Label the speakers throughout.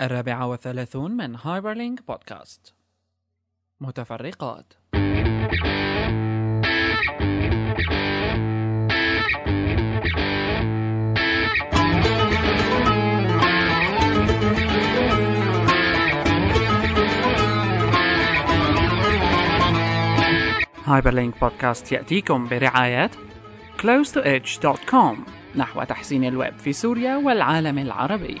Speaker 1: الرابعة والثلاثون من هايبرلينك بودكاست متفرقات هايبرلينك بودكاست يأتيكم برعاية close to edge.com نحو تحسين الويب في سوريا والعالم العربي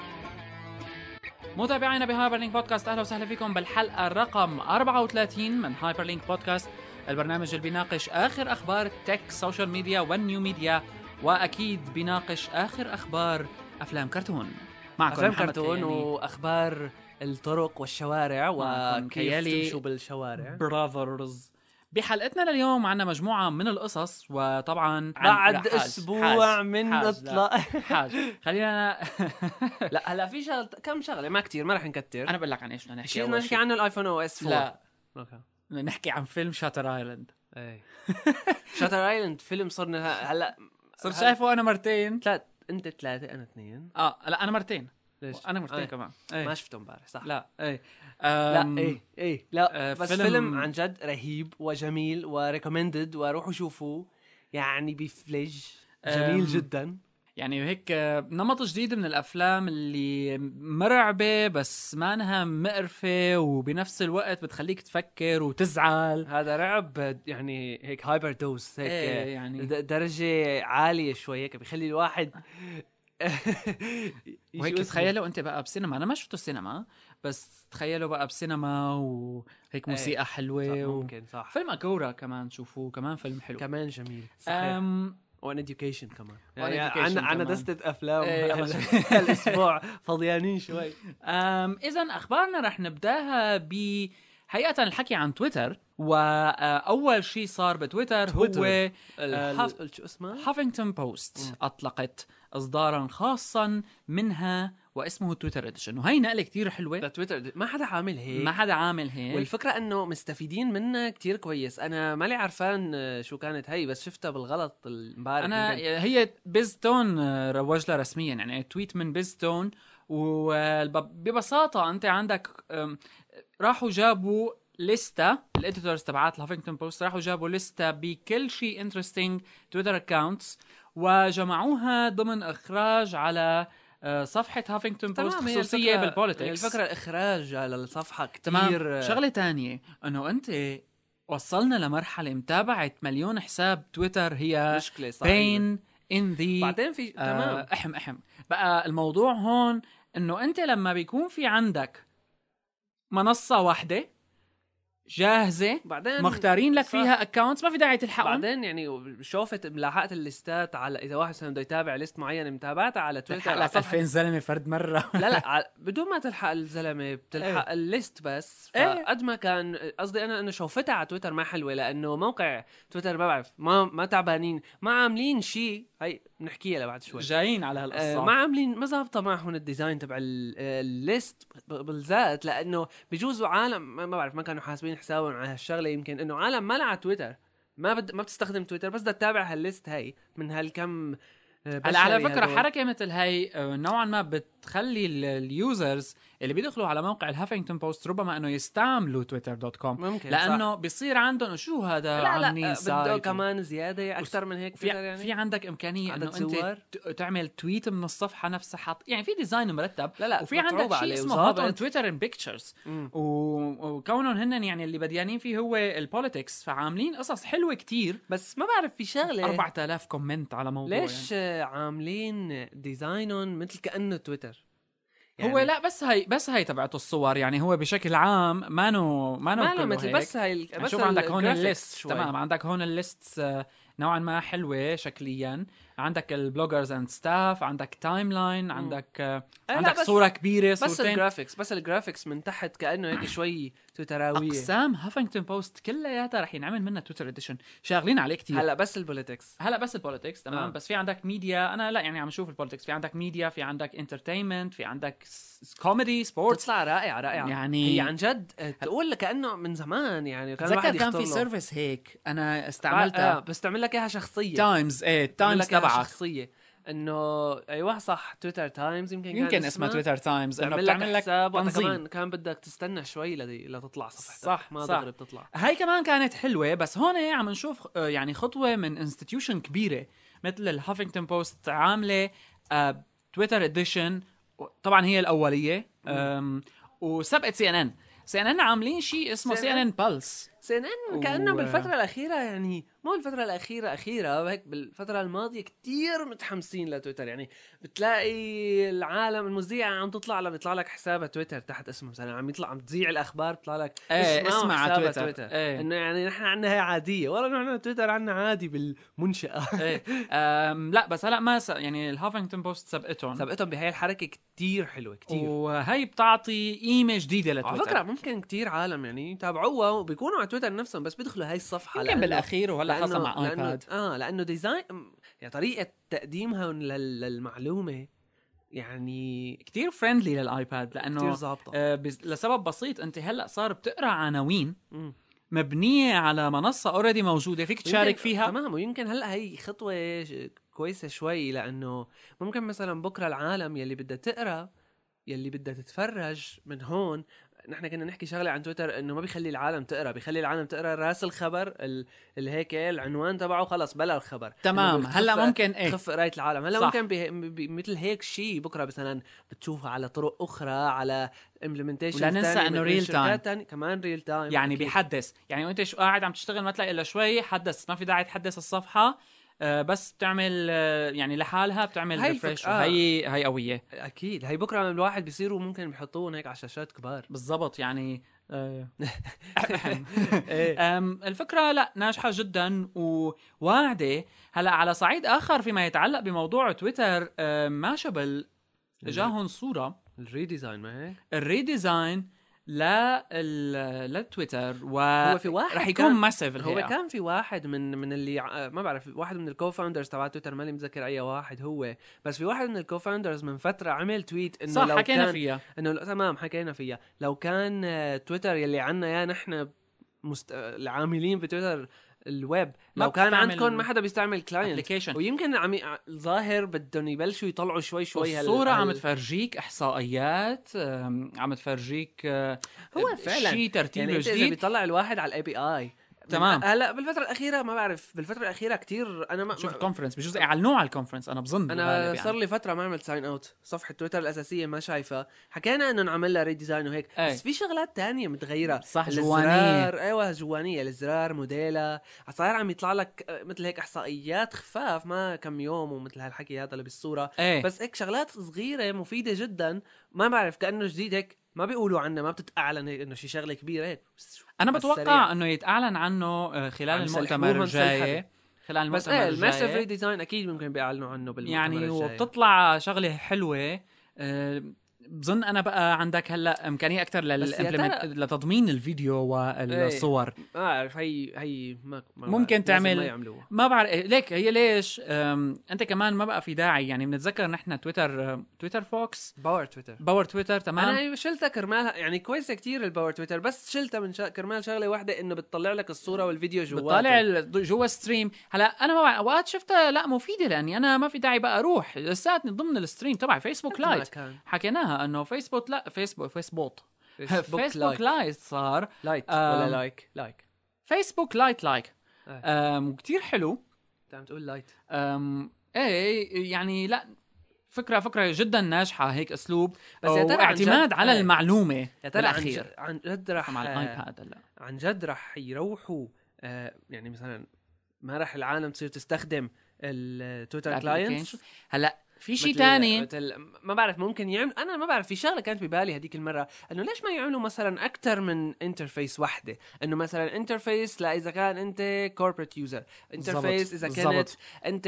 Speaker 1: متابعينا بهايبرلينك بودكاست اهلا وسهلا فيكم بالحلقه الرقم 34 من هايبرلينك بودكاست البرنامج اللي بيناقش اخر اخبار التك سوشيال ميديا والنيو ميديا واكيد بيناقش اخر اخبار افلام كرتون معكم
Speaker 2: افلام
Speaker 1: محمد
Speaker 2: كرتون
Speaker 1: كيالي.
Speaker 2: واخبار الطرق والشوارع
Speaker 1: معكم
Speaker 2: وكيف
Speaker 1: كيالي.
Speaker 2: تمشوا بالشوارع
Speaker 1: براذرز بحلقتنا لليوم عندنا مجموعة من القصص وطبعا
Speaker 2: بعد
Speaker 1: لا، حاج،
Speaker 2: اسبوع
Speaker 1: حاج،
Speaker 2: من
Speaker 1: حاج، لا،
Speaker 2: اطلاق
Speaker 1: حاج خلينا
Speaker 2: لا هلا في شغل كم شغله ما كتير ما راح نكتر
Speaker 1: انا بقول لك عن ايش بدنا نحكي
Speaker 2: شيء
Speaker 1: أول
Speaker 2: بدنا نحكي
Speaker 1: شي.
Speaker 2: عنه الايفون او اس 4
Speaker 1: لا
Speaker 2: اوكي
Speaker 1: بدنا نحكي عن فيلم شاتر ايلاند
Speaker 2: اي شاتر ايلاند إيه. فيلم صرنا ه- هلا
Speaker 1: صرت
Speaker 2: هل-
Speaker 1: شايفه انا مرتين
Speaker 2: ثلاث انت ثلاثه انا اثنين
Speaker 1: اه لا انا مرتين
Speaker 2: ليش؟
Speaker 1: انا مرتين
Speaker 2: آه،
Speaker 1: كمان
Speaker 2: ما
Speaker 1: ايه
Speaker 2: شفته امبارح صح
Speaker 1: لا ايه
Speaker 2: لا
Speaker 1: أم،
Speaker 2: ايه ايه
Speaker 1: آه،
Speaker 2: لا بس
Speaker 1: فيلم-
Speaker 2: فيلم, عن جد رهيب وجميل وريكومندد وروحوا شوفوه يعني بفلج
Speaker 1: أم،
Speaker 2: جميل جدا
Speaker 1: يعني هيك آه، نمط جديد من الافلام اللي مرعبه بس مانها مقرفه وبنفس الوقت بتخليك تفكر وتزعل
Speaker 2: هذا رعب يعني هيك هايبر دوز هيك
Speaker 1: إيه يعني.
Speaker 2: د- درجة عالية شوي هيك بخلي الواحد يجي
Speaker 1: وهيك
Speaker 2: اسمه.
Speaker 1: تخيلوا انت بقى بسينما انا ما شفته سينما بس تخيلوا بقى بسينما وهيك
Speaker 2: إيه.
Speaker 1: موسيقى
Speaker 2: صح،
Speaker 1: حلوه و...
Speaker 2: ممكن صح
Speaker 1: فيلم اكورا كمان شوفوه كمان فيلم حلو
Speaker 2: كمان جميل صحيح
Speaker 1: أم...
Speaker 2: وان اديوكيشن كمان
Speaker 1: وأن
Speaker 2: يعني
Speaker 1: education
Speaker 2: عنا عنا
Speaker 1: كمان.
Speaker 2: دستة افلام
Speaker 1: إيه، يلا
Speaker 2: هال-
Speaker 1: شوي.
Speaker 2: هالاسبوع فضيانين شوي
Speaker 1: أم إذا أخبارنا رح نبداها ب حقيقة الحكي عن تويتر وأول شيء صار بتويتر هو
Speaker 2: تويتر. الحف... آه، شو اسمه؟
Speaker 1: هافينغتون بوست أطلقت إصدارا خاصا منها واسمه تويتر اديشن وهي نقلة كتير حلوة
Speaker 2: تويتر ما حدا عامل هيك
Speaker 1: ما حدا عامل هيك
Speaker 2: والفكرة انه مستفيدين منها كتير كويس، انا مالي عرفان آه، شو كانت هي بس شفتها بالغلط امبارح
Speaker 1: أنا يعني
Speaker 2: يمكن.
Speaker 1: هي بيزتون روج لها رسميا يعني تويت من بيزتون وببساطة أنت عندك أم، راحوا جابوا لستة الاديتورز تبعات الهافينجتون بوست راحوا جابوا لستة بكل شيء انترستينج تويتر اكونتس وجمعوها ضمن اخراج على آه، صفحة هافينجتون بوست
Speaker 2: تمام هي
Speaker 1: خصوصية
Speaker 2: الفكرة-
Speaker 1: بالبوليتكس
Speaker 2: الفكره الاخراج على الصفحه كثير
Speaker 1: تمام شغلة تانية انه انت وصلنا لمرحلة متابعة مليون حساب تويتر هي
Speaker 2: مشكله صح
Speaker 1: بين آه، ان ذا
Speaker 2: آه، بعدين في
Speaker 1: تمام
Speaker 2: تمام
Speaker 1: احم احم بقى الموضوع هون انه انت لما بيكون في عندك منصه واحده جاهزه
Speaker 2: بعدين
Speaker 1: مختارين لك
Speaker 2: صح.
Speaker 1: فيها اكونتس ما في داعي تلحقهم
Speaker 2: بعدين يعني شوفت ملاحقه الليستات على اذا واحد مثلا بده يتابع ليست معينه متابعتها على تويتر
Speaker 1: تلحق
Speaker 2: على
Speaker 1: لك
Speaker 2: صفحة
Speaker 1: 2000 زلمه فرد مره
Speaker 2: لا لا ع- بدون ما تلحق الزلمه بتلحق
Speaker 1: إيه.
Speaker 2: الليست بس
Speaker 1: إيه.
Speaker 2: فقد ما كان قصدي انا انه شوفتها على تويتر ما حلوه لانه موقع تويتر ما بعرف ما ما تعبانين ما عاملين شيء هي بنحكيها لبعد شوي
Speaker 1: جايين على
Speaker 2: آه،
Speaker 1: هالقصه
Speaker 2: ما عاملين ما ظابطه معهم الديزاين تبع ال- آه، الليست ب- بالذات لانه بجوزوا عالم ما ما بعرف ما كانوا حاسبين حسابهم على هالشغله يمكن انه عالم ما لها على تويتر ما بد ما بتستخدم تويتر بس بدها تتابع هالليست هي من هالكم آه،
Speaker 1: هلا على
Speaker 2: بشري
Speaker 1: فكره
Speaker 2: هدول.
Speaker 1: حركه مثل هاي آه، نوعا ما بتخلي ال- اليوزرز اللي بيدخلوا على موقع الهافينجتون بوست ربما انه يستعملوا تويتر دوت كوم
Speaker 2: ممكن صح.
Speaker 1: لانه بيصير عندهم شو هذا
Speaker 2: لا
Speaker 1: عاملين
Speaker 2: لا آه، بده
Speaker 1: سايت و-
Speaker 2: كمان زياده اكثر من هيك
Speaker 1: في
Speaker 2: تويتر يعني
Speaker 1: في عندك امكانيه
Speaker 2: عدد
Speaker 1: انه انت
Speaker 2: زوار؟
Speaker 1: ت- تعمل تويت من الصفحه نفسها حط يعني في ديزاين مرتب
Speaker 2: لا لا
Speaker 1: وفي عندك
Speaker 2: متعوبة
Speaker 1: شيء
Speaker 2: أه، عليه
Speaker 1: اسمه
Speaker 2: وظابط.
Speaker 1: هاتون تويتر ان بيكتشرز
Speaker 2: مم.
Speaker 1: وكونهم هن يعني اللي بديانين فيه هو البوليتكس فعاملين قصص حلوه كتير
Speaker 2: بس ما بعرف في شغله
Speaker 1: 4000 كومنت على موضوع
Speaker 2: ليش آه، عاملين ديزاينهم مثل كانه تويتر
Speaker 1: يعني. هو لا بس هي بس هي تبعته الصور يعني هو بشكل عام مانو مانو
Speaker 2: ما لا
Speaker 1: كله
Speaker 2: مثل
Speaker 1: هيك. يعني
Speaker 2: بس هاي ال- بس
Speaker 1: شوف عندك هون
Speaker 2: الجرافيكس
Speaker 1: الليست
Speaker 2: شوي.
Speaker 1: تمام عندك هون الليست نوعا ما حلوه شكليا عندك البلوجرز اند ستاف عندك تايم لاين عندك آه،
Speaker 2: لا،
Speaker 1: عندك
Speaker 2: بس-
Speaker 1: صوره كبيره
Speaker 2: بس
Speaker 1: صورتين
Speaker 2: الجرافيكس بس الجرافيكس من تحت كانه هيك شوي تويتراويه
Speaker 1: اقسام هافينجتون بوست كلياتها رح ينعمل منها تويتر اديشن شاغلين عليه كتير هلا
Speaker 2: هلا بس البوليتكس
Speaker 1: هلا بس البوليتكس تمام آه.
Speaker 2: آه.
Speaker 1: بس في عندك ميديا انا لا يعني عم شوف البوليتكس في عندك ميديا في عندك انترتينمنت في عندك كوميدي سبورتس
Speaker 2: بتطلع رائعه رائعه
Speaker 1: يعني-
Speaker 2: هي عن جد آه، تقول كانه من زمان يعني كان
Speaker 1: تذكر
Speaker 2: الواحد
Speaker 1: كان في
Speaker 2: يخطر له.
Speaker 1: سيرفيس هيك انا
Speaker 2: بع- آه،
Speaker 1: استعملتها
Speaker 2: بس تعمل لك اياها شخصيه
Speaker 1: تايمز ايه
Speaker 2: بتعمل
Speaker 1: تايمز
Speaker 2: لك إياها
Speaker 1: تبعك
Speaker 2: شخصيه انه ايوه صح تويتر تايمز يمكن كان
Speaker 1: يمكن اسمها تويتر تايمز انه
Speaker 2: تعمل لك
Speaker 1: بتعمل لك
Speaker 2: حساب وقتها
Speaker 1: تنظيم.
Speaker 2: كمان كان بدك تستنى شوي لدي لتطلع صفحتك
Speaker 1: صح،
Speaker 2: ما
Speaker 1: صح.
Speaker 2: دغري بتطلع
Speaker 1: هاي كمان كانت حلوه بس هون عم نشوف آه، يعني خطوه من انستتيوشن كبيره مثل الهافينغتون بوست عامله آه، تويتر اديشن طبعا هي الاوليه آم، وسبقت سي ان ان سي ان ان عاملين شيء اسمه
Speaker 2: CNN
Speaker 1: سي ان ان بالس
Speaker 2: سي ان ان كانه
Speaker 1: و-
Speaker 2: بالفتره الاخيره يعني مو بالفتره الاخيره اخيره هيك بالفتره الماضيه كتير متحمسين لتويتر يعني بتلاقي العالم المذيعه عم تطلع لما يطلع لك حسابها تويتر تحت اسمه مثلا عم يطلع عم تذيع الاخبار بيطلع لك
Speaker 1: إيه،
Speaker 2: اسمعوا
Speaker 1: اسمع على
Speaker 2: حسابها
Speaker 1: تويتر. إيه.
Speaker 2: انه يعني نحن عندنا هي عاديه والله نحن تويتر عندنا عادي بالمنشاه
Speaker 1: ايه آم، لا بس هلا ما س... يعني الهافينغتون بوست سبقتهم
Speaker 2: سبقتهم بهاي الحركه كتير حلوه كتير
Speaker 1: وهي بتعطي قيمه جديده لتويتر
Speaker 2: على فكره ممكن كتير عالم يعني يتابعوها وبيكونوا على تويتر نفسهم بس بيدخلوا هاي الصفحه
Speaker 1: يمكن
Speaker 2: لأنه-
Speaker 1: بالاخير وهلا خاصه مع ايباد
Speaker 2: لأنه اه لانه ديزاين يعني طريقه تقديمها لل- للمعلومه يعني
Speaker 1: كتير فريندلي للايباد
Speaker 2: كثير
Speaker 1: لانه
Speaker 2: ظابطه
Speaker 1: آه، بس- لسبب بسيط انت هلا صار بتقرا عناوين
Speaker 2: مم.
Speaker 1: مبنيه على منصه اوريدي موجوده فيك تشارك
Speaker 2: ويمكن-
Speaker 1: فيها
Speaker 2: إيه، تمام ويمكن هلا هي خطوه ش- كويسه شوي لانه ممكن مثلا بكره العالم يلي بدها تقرا يلي بدها تتفرج من هون نحن كنا نحكي شغله عن تويتر انه ما بيخلي العالم تقرا بيخلي العالم تقرا راس الخبر ال- اللي هيك العنوان تبعه خلص بلا الخبر
Speaker 1: تمام
Speaker 2: إنه
Speaker 1: هلا
Speaker 2: يعني بتخف-
Speaker 1: ممكن ايه
Speaker 2: تخف قرايه العالم هلا
Speaker 1: صح.
Speaker 2: ممكن بي... بي... مثل هيك شيء بكره مثلا بتشوفها على طرق اخرى على امبلمنتيشن
Speaker 1: ولا ننسى إنه real time.
Speaker 2: كمان ريل تايم
Speaker 1: يعني بيحدث يعني وانت شو قاعد عم تشتغل ما تلاقي الا شوي حدث ما في داعي تحدث الصفحه آه، بس بتعمل آه، يعني لحالها بتعمل
Speaker 2: هاي الفك-
Speaker 1: ريفرش
Speaker 2: آه.
Speaker 1: هي هي قويه
Speaker 2: اكيد هي بكره الواحد بيصيروا ممكن بيحطوهم هيك على شاشات كبار
Speaker 1: بالضبط يعني آه،
Speaker 2: ايه
Speaker 1: أم، الفكرة لا ناجحة جدا وواعدة هلا على صعيد آخر فيما يتعلق بموضوع تويتر أم، ماشبل
Speaker 2: نعم.
Speaker 1: جاهم صورة
Speaker 2: الريديزاين ما هيك
Speaker 1: الريديزاين لل- للتويتر و
Speaker 2: هو في واحد
Speaker 1: آه، إيه، رح
Speaker 2: كان-
Speaker 1: يكون ماسيف
Speaker 2: هو
Speaker 1: الحقيقة.
Speaker 2: كان في واحد من من اللي ع- آه، ما بعرف واحد من الكوفاوندرز تبع تويتر ماني متذكر اي واحد هو بس في واحد من الكوفاوندرز من فتره عمل تويت انه
Speaker 1: صح
Speaker 2: لو كان
Speaker 1: حكينا فيها
Speaker 2: انه لو- تمام حكينا فيها لو كان آه، تويتر يلي عنا يا نحن مست... آه، العاملين بتويتر الويب
Speaker 1: ما
Speaker 2: لو كان
Speaker 1: بتستعمل
Speaker 2: عندكم ما حدا بيستعمل كلاينت
Speaker 1: ابلكيشن
Speaker 2: ويمكن عم ي- ع- الظاهر بدهم يبلشوا يطلعوا شوي شوي هال-
Speaker 1: الصورة
Speaker 2: هال-
Speaker 1: عم تفرجيك إحصائيات أم، عم تفرجيك أه،
Speaker 2: هو فعلاً.
Speaker 1: شي
Speaker 2: يعني
Speaker 1: ترتيبه
Speaker 2: انت اذا
Speaker 1: جديد
Speaker 2: بيطلع الواحد على الاي بي اي
Speaker 1: تمام.
Speaker 2: هلا بالفتره الاخيره ما بعرف بالفتره الاخيره كتير انا ما
Speaker 1: شوف
Speaker 2: ما-
Speaker 1: الكونفرنس بجوز يعلنوه على الكونفرنس أنا بظن
Speaker 2: انا
Speaker 1: بالغالب يعني.
Speaker 2: صار لي فتره ما عملت ساين اوت صفحه تويتر الاساسيه ما شايفها حكينا انه نعمل لها ريديزاين وهيك
Speaker 1: أي.
Speaker 2: بس في شغلات تانية متغيره
Speaker 1: صح،
Speaker 2: الازرار-
Speaker 1: إيه. آه، جوانية.
Speaker 2: ايوه جوانيه الازرار موديلها صاير عم يطلع لك آه، مثل هيك احصائيات خفاف ما كم يوم ومثل هالحكي هذا اللي بالصوره
Speaker 1: ايه
Speaker 2: بس هيك شغلات صغيره مفيده جدا ما بعرف كانه جديد هيك ما بيقولوا عنه ما بتتعلن هيك انه شي شغله كبيره هيك بس-
Speaker 1: انا
Speaker 2: بس
Speaker 1: بتوقع
Speaker 2: سريع.
Speaker 1: انه يتاعلن عنه آه، خلال
Speaker 2: عم
Speaker 1: المؤتمر
Speaker 2: يسلحوهم
Speaker 1: الجاي
Speaker 2: سلحبة.
Speaker 1: خلال
Speaker 2: بس
Speaker 1: المؤتمر
Speaker 2: ايه الماسيف
Speaker 1: الجاي
Speaker 2: ريديزاين اكيد ممكن بيعلنوا عنه بالمؤتمر
Speaker 1: يعني
Speaker 2: الجاي.
Speaker 1: وبتطلع شغله حلوه آه، بظن انا بقى عندك هلا امكانيه اكثر
Speaker 2: بس يا ترى- إيه.
Speaker 1: لتضمين الفيديو والصور
Speaker 2: ما اعرف آه، هي هي ما ما
Speaker 1: ممكن
Speaker 2: بعرف. لازم
Speaker 1: تعمل-
Speaker 2: ما يعملوها
Speaker 1: ما بعرف إيه، ليك هي ليش آم، انت كمان ما بقى في داعي يعني بنتذكر نحن تويتر آم، تويتر فوكس
Speaker 2: باور تويتر
Speaker 1: باور تويتر تمام
Speaker 2: انا شلتها كرمالها يعني كويسه كتير الباور تويتر بس شلتها من شا... كرمال شغله واحده انه بتطلع لك الصوره والفيديو جواته
Speaker 1: بتطالع ال- جوا ستريم هلا انا ما بعرف، اوقات شفتها لا مفيده لاني انا ما في داعي بقى اروح لساتني ضمن الستريم تبع فيسبوك
Speaker 2: ما
Speaker 1: لايت
Speaker 2: كان
Speaker 1: حكيناها انه فيسبوك لا فيسبوك فيسبوك
Speaker 2: فيسبوك
Speaker 1: فيسبوك
Speaker 2: لايك
Speaker 1: لايت صار
Speaker 2: لايت
Speaker 1: آم.
Speaker 2: ولا لايك لايك
Speaker 1: فيسبوك لايت لايك
Speaker 2: إيه.
Speaker 1: أم كتير حلو
Speaker 2: انت عم تقول لايت
Speaker 1: أم ايه يعني لا فكرة فكرة جدا ناجحة هيك اسلوب
Speaker 2: بس يا ترى عن
Speaker 1: اعتماد
Speaker 2: جد-
Speaker 1: على
Speaker 2: إيه.
Speaker 1: المعلومة
Speaker 2: يا ترى عن
Speaker 1: بالاخير
Speaker 2: جد- عن جد رح
Speaker 1: مع
Speaker 2: آه،
Speaker 1: الايباد هلا
Speaker 2: عن جد رح يروحوا آه، يعني مثلا ما رح العالم تصير تستخدم التويتر كلاينتس
Speaker 1: الأبليكيشن. هلا في شيء
Speaker 2: مثل-
Speaker 1: تاني
Speaker 2: مثل ما بعرف ممكن يعمل انا ما بعرف في شغله كانت ببالي هذيك المره انه ليش ما يعملوا مثلا اكثر من انترفيس وحده انه مثلا انترفيس لا اذا كان انت كوربريت يوزر انترفيس اذا
Speaker 1: بالضبط.
Speaker 2: إيه، كانت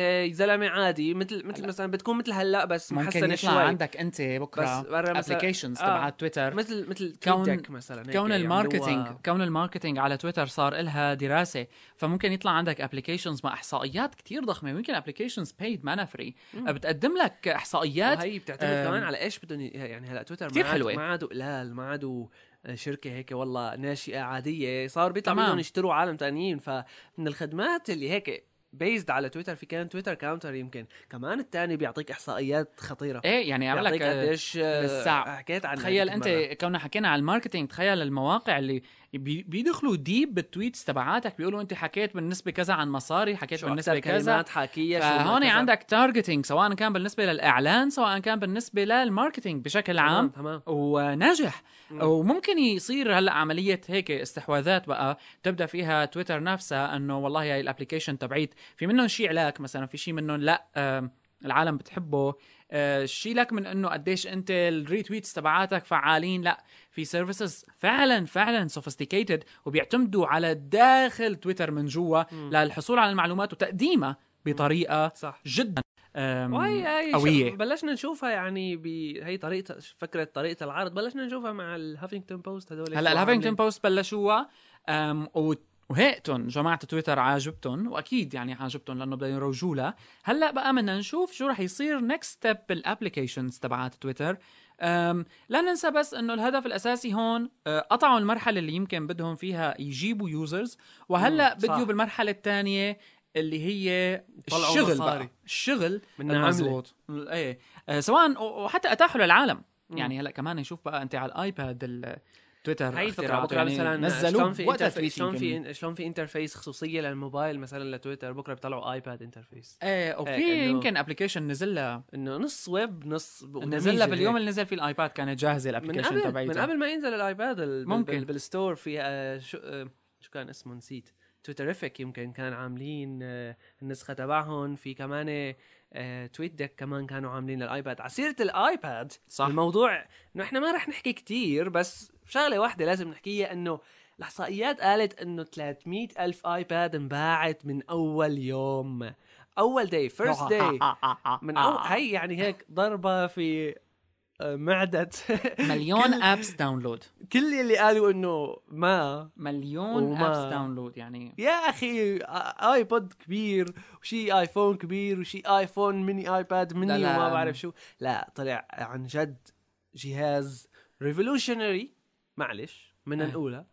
Speaker 2: انت زلمه عادي مثل مثل مثلا بتكون مثل هلا بس
Speaker 1: ممكن
Speaker 2: محسنه
Speaker 1: يطلع
Speaker 2: شوي
Speaker 1: عندك انت
Speaker 2: بس
Speaker 1: بكره
Speaker 2: برا مثلا
Speaker 1: ابلكيشنز
Speaker 2: آه.
Speaker 1: تبع تويتر
Speaker 2: مثل مثل
Speaker 1: كون-
Speaker 2: كون مثلا هيك
Speaker 1: كون
Speaker 2: يعني
Speaker 1: الماركتينج
Speaker 2: عملوها-
Speaker 1: كون الماركتينج على تويتر صار إلها دراسه فممكن يطلع عندك ابلكيشنز مع احصائيات كتير ضخمه ممكن ابلكيشنز بيد ما فري بتقدم لك احصائيات
Speaker 2: وهي بتعتمد
Speaker 1: آم،
Speaker 2: كمان على ايش بدهم ي- يعني هلا تويتر
Speaker 1: كتير
Speaker 2: ما عاد
Speaker 1: حلوة.
Speaker 2: ما عادوا قلال ما عادوا آه، شركه هيك والله ناشئه عاديه صار بيطلع
Speaker 1: تمام.
Speaker 2: بدهم يشتروا عالم تانيين فمن الخدمات اللي هيك بيزد على تويتر في كان تويتر كاونتر يمكن كمان الثاني بيعطيك احصائيات خطيره
Speaker 1: ايه يعني اعمل
Speaker 2: يعطيك
Speaker 1: لك آه،
Speaker 2: قديش آه،
Speaker 1: بالساعة.
Speaker 2: حكيت عنها
Speaker 1: تخيل انت
Speaker 2: هذيك المرة.
Speaker 1: كنا حكينا على الماركتينج تخيل المواقع اللي بي- بيدخلوا ديب بالتويتس تبعاتك بيقولوا انت حكيت بالنسبه كذا عن مصاري حكيت
Speaker 2: شو بالنسبه
Speaker 1: بالنسبه كذا
Speaker 2: كلمات حاكيه شو
Speaker 1: فهون
Speaker 2: كذا.
Speaker 1: عندك تارجتينج سواء كان بالنسبه للاعلان سواء كان بالنسبه للماركتينج بشكل
Speaker 2: تمام
Speaker 1: عام
Speaker 2: تمام
Speaker 1: وناجح وممكن يصير هلا عمليه هيك استحواذات بقى تبدا فيها تويتر نفسها انه والله هاي الابلكيشن تبعيت في منهم شيء علاك مثلا في شيء منهم لا آم، العالم بتحبه آه، شيء لك من انه قديش انت الريتويتس تبعاتك فعالين لا في سيرفيسز فعلا فعلا سوفيستيكيتد وبيعتمدوا على داخل تويتر من جوا للحصول على المعلومات وتقديمها بطريقه
Speaker 2: صح
Speaker 1: جدا آم،
Speaker 2: وهي هي
Speaker 1: قوية.
Speaker 2: قوية بلشنا نشوفها يعني بهي طريقة فكرة طريقة العرض بلشنا نشوفها مع الهافينجتون بوست هذول
Speaker 1: هلا الهافينجتون بوست بلشوها أم، و- وهيئتن جماعة تويتر عاجبتن وأكيد يعني عاجبتن لأنه بدهم يروجوا لها هلا بقى بدنا نشوف شو رح يصير نكست ستيب بالابلكيشنز تبعات تويتر أم، لا ننسى بس انه الهدف الاساسي هون أه، قطعوا المرحله اللي يمكن بدهم فيها يجيبوا يوزرز وهلا
Speaker 2: مم، صح.
Speaker 1: بدهم بالمرحله الثانيه اللي هي
Speaker 2: طلعوا
Speaker 1: الشغل
Speaker 2: مصاري.
Speaker 1: بقى الشغل
Speaker 2: من عملة.
Speaker 1: المزبوط. ايه أه، سواء و- وحتى اتاحوا للعالم يعني هلا كمان نشوف بقى انت على الايباد ال- تويتر
Speaker 2: هاي الفكرة بكره
Speaker 1: يعني
Speaker 2: مثلا
Speaker 1: نزلوا
Speaker 2: شلون في
Speaker 1: وقتها
Speaker 2: interface-
Speaker 1: في
Speaker 2: شلون في شلون في انترفيس خصوصية للموبايل مثلا لتويتر بكره بيطلعوا ايباد انترفيس
Speaker 1: ايه
Speaker 2: إيه،
Speaker 1: وفي
Speaker 2: إنه-
Speaker 1: يمكن ابلكيشن نزل لها
Speaker 2: انه نص ويب نص
Speaker 1: نزل لها باليوم
Speaker 2: اللي
Speaker 1: اللي نزل فيه الايباد كانت جاهزه
Speaker 2: من
Speaker 1: الابلكيشن
Speaker 2: قبل من
Speaker 1: تبعيتها
Speaker 2: قبل ما ينزل الايباد ال- بال-
Speaker 1: ممكن.
Speaker 2: بال- بالستور في آه، شو آه، شو كان اسمه نسيت تويترفيك يمكن كان عاملين آه، النسخة تبعهم في كمان آه، تويت ديك كمان كانوا عاملين للايباد على سيرة الايباد
Speaker 1: صح.
Speaker 2: الموضوع انه احنا ما رح نحكي كتير بس شغلة واحدة لازم نحكيها انه الاحصائيات قالت انه 300 الف ايباد انباعت من اول يوم اول داي فيرست
Speaker 1: آه،
Speaker 2: داي من أول هي يعني هيك ضربة في آه، معدة
Speaker 1: مليون
Speaker 2: كل-
Speaker 1: ابس داونلود
Speaker 2: كل اللي قالوا انه ما
Speaker 1: مليون
Speaker 2: وما-
Speaker 1: ابس داونلود يعني
Speaker 2: يا اخي آ- ايبود كبير وشي ايفون كبير وشي ايفون ميني ايباد ميني
Speaker 1: لا لا.
Speaker 2: وما بعرف شو لا طلع عن جد جهاز ريفولوشنري معلش من
Speaker 1: إيه.
Speaker 2: الاولى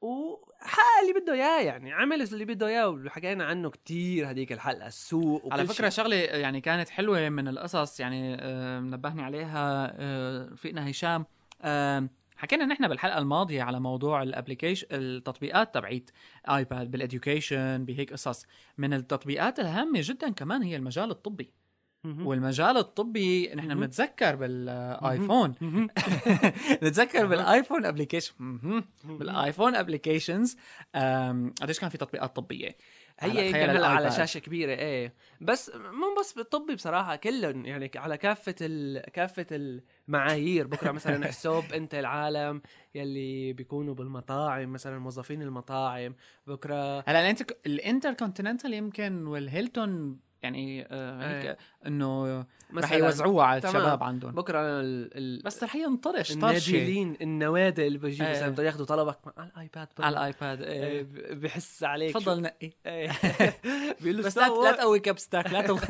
Speaker 2: وحقق اللي بده اياه يعني عمل اللي بده اياه وحكينا عنه كتير هذيك الحلقه السوق وكل
Speaker 1: على فكره
Speaker 2: شي.
Speaker 1: شغله يعني كانت حلوه من القصص يعني آه، منبهني عليها آه، رفيقنا هشام آه، حكينا نحن بالحلقه الماضيه على موضوع الابلكيشن التطبيقات تبعيت ايباد بالاديوكيشن بهيك قصص من التطبيقات الهامه جدا كمان هي المجال الطبي
Speaker 2: مهم.
Speaker 1: والمجال الطبي نحن
Speaker 2: مهم.
Speaker 1: بنتذكر بالايفون
Speaker 2: مهم.
Speaker 1: نتذكر بالايفون ابلكيشن بالايفون ابلكيشنز قديش كان في تطبيقات طبيه على
Speaker 2: هي
Speaker 1: خيال
Speaker 2: كان على
Speaker 1: الآيباد.
Speaker 2: شاشه كبيره ايه بس مو بس بالطبي بصراحه كلهم يعني على كافه ال... كافه المعايير بكره مثلا احسب انت العالم يلي بيكونوا بالمطاعم مثلا موظفين المطاعم بكره
Speaker 1: هلا الانتر الانتركونتيننتال يمكن والهيلتون يعني آه هيك انه رح
Speaker 2: مثلا
Speaker 1: يوزعوها على
Speaker 2: إيه. تمام.
Speaker 1: الشباب عندهم
Speaker 2: بكره ال... ال...
Speaker 1: بس رح ينطرش طرشه
Speaker 2: النادلين النوادل اللي بيجي
Speaker 1: إيه.
Speaker 2: مثلا بده ياخذوا طلبك مع على الايباد
Speaker 1: على الايباد
Speaker 2: إيه،
Speaker 1: إيه.
Speaker 2: ب- بحس عليك
Speaker 1: تفضل نقي
Speaker 2: إيه. بيقول له
Speaker 1: بس لا
Speaker 2: سوى.
Speaker 1: لا تقوي كبستك لا تبخ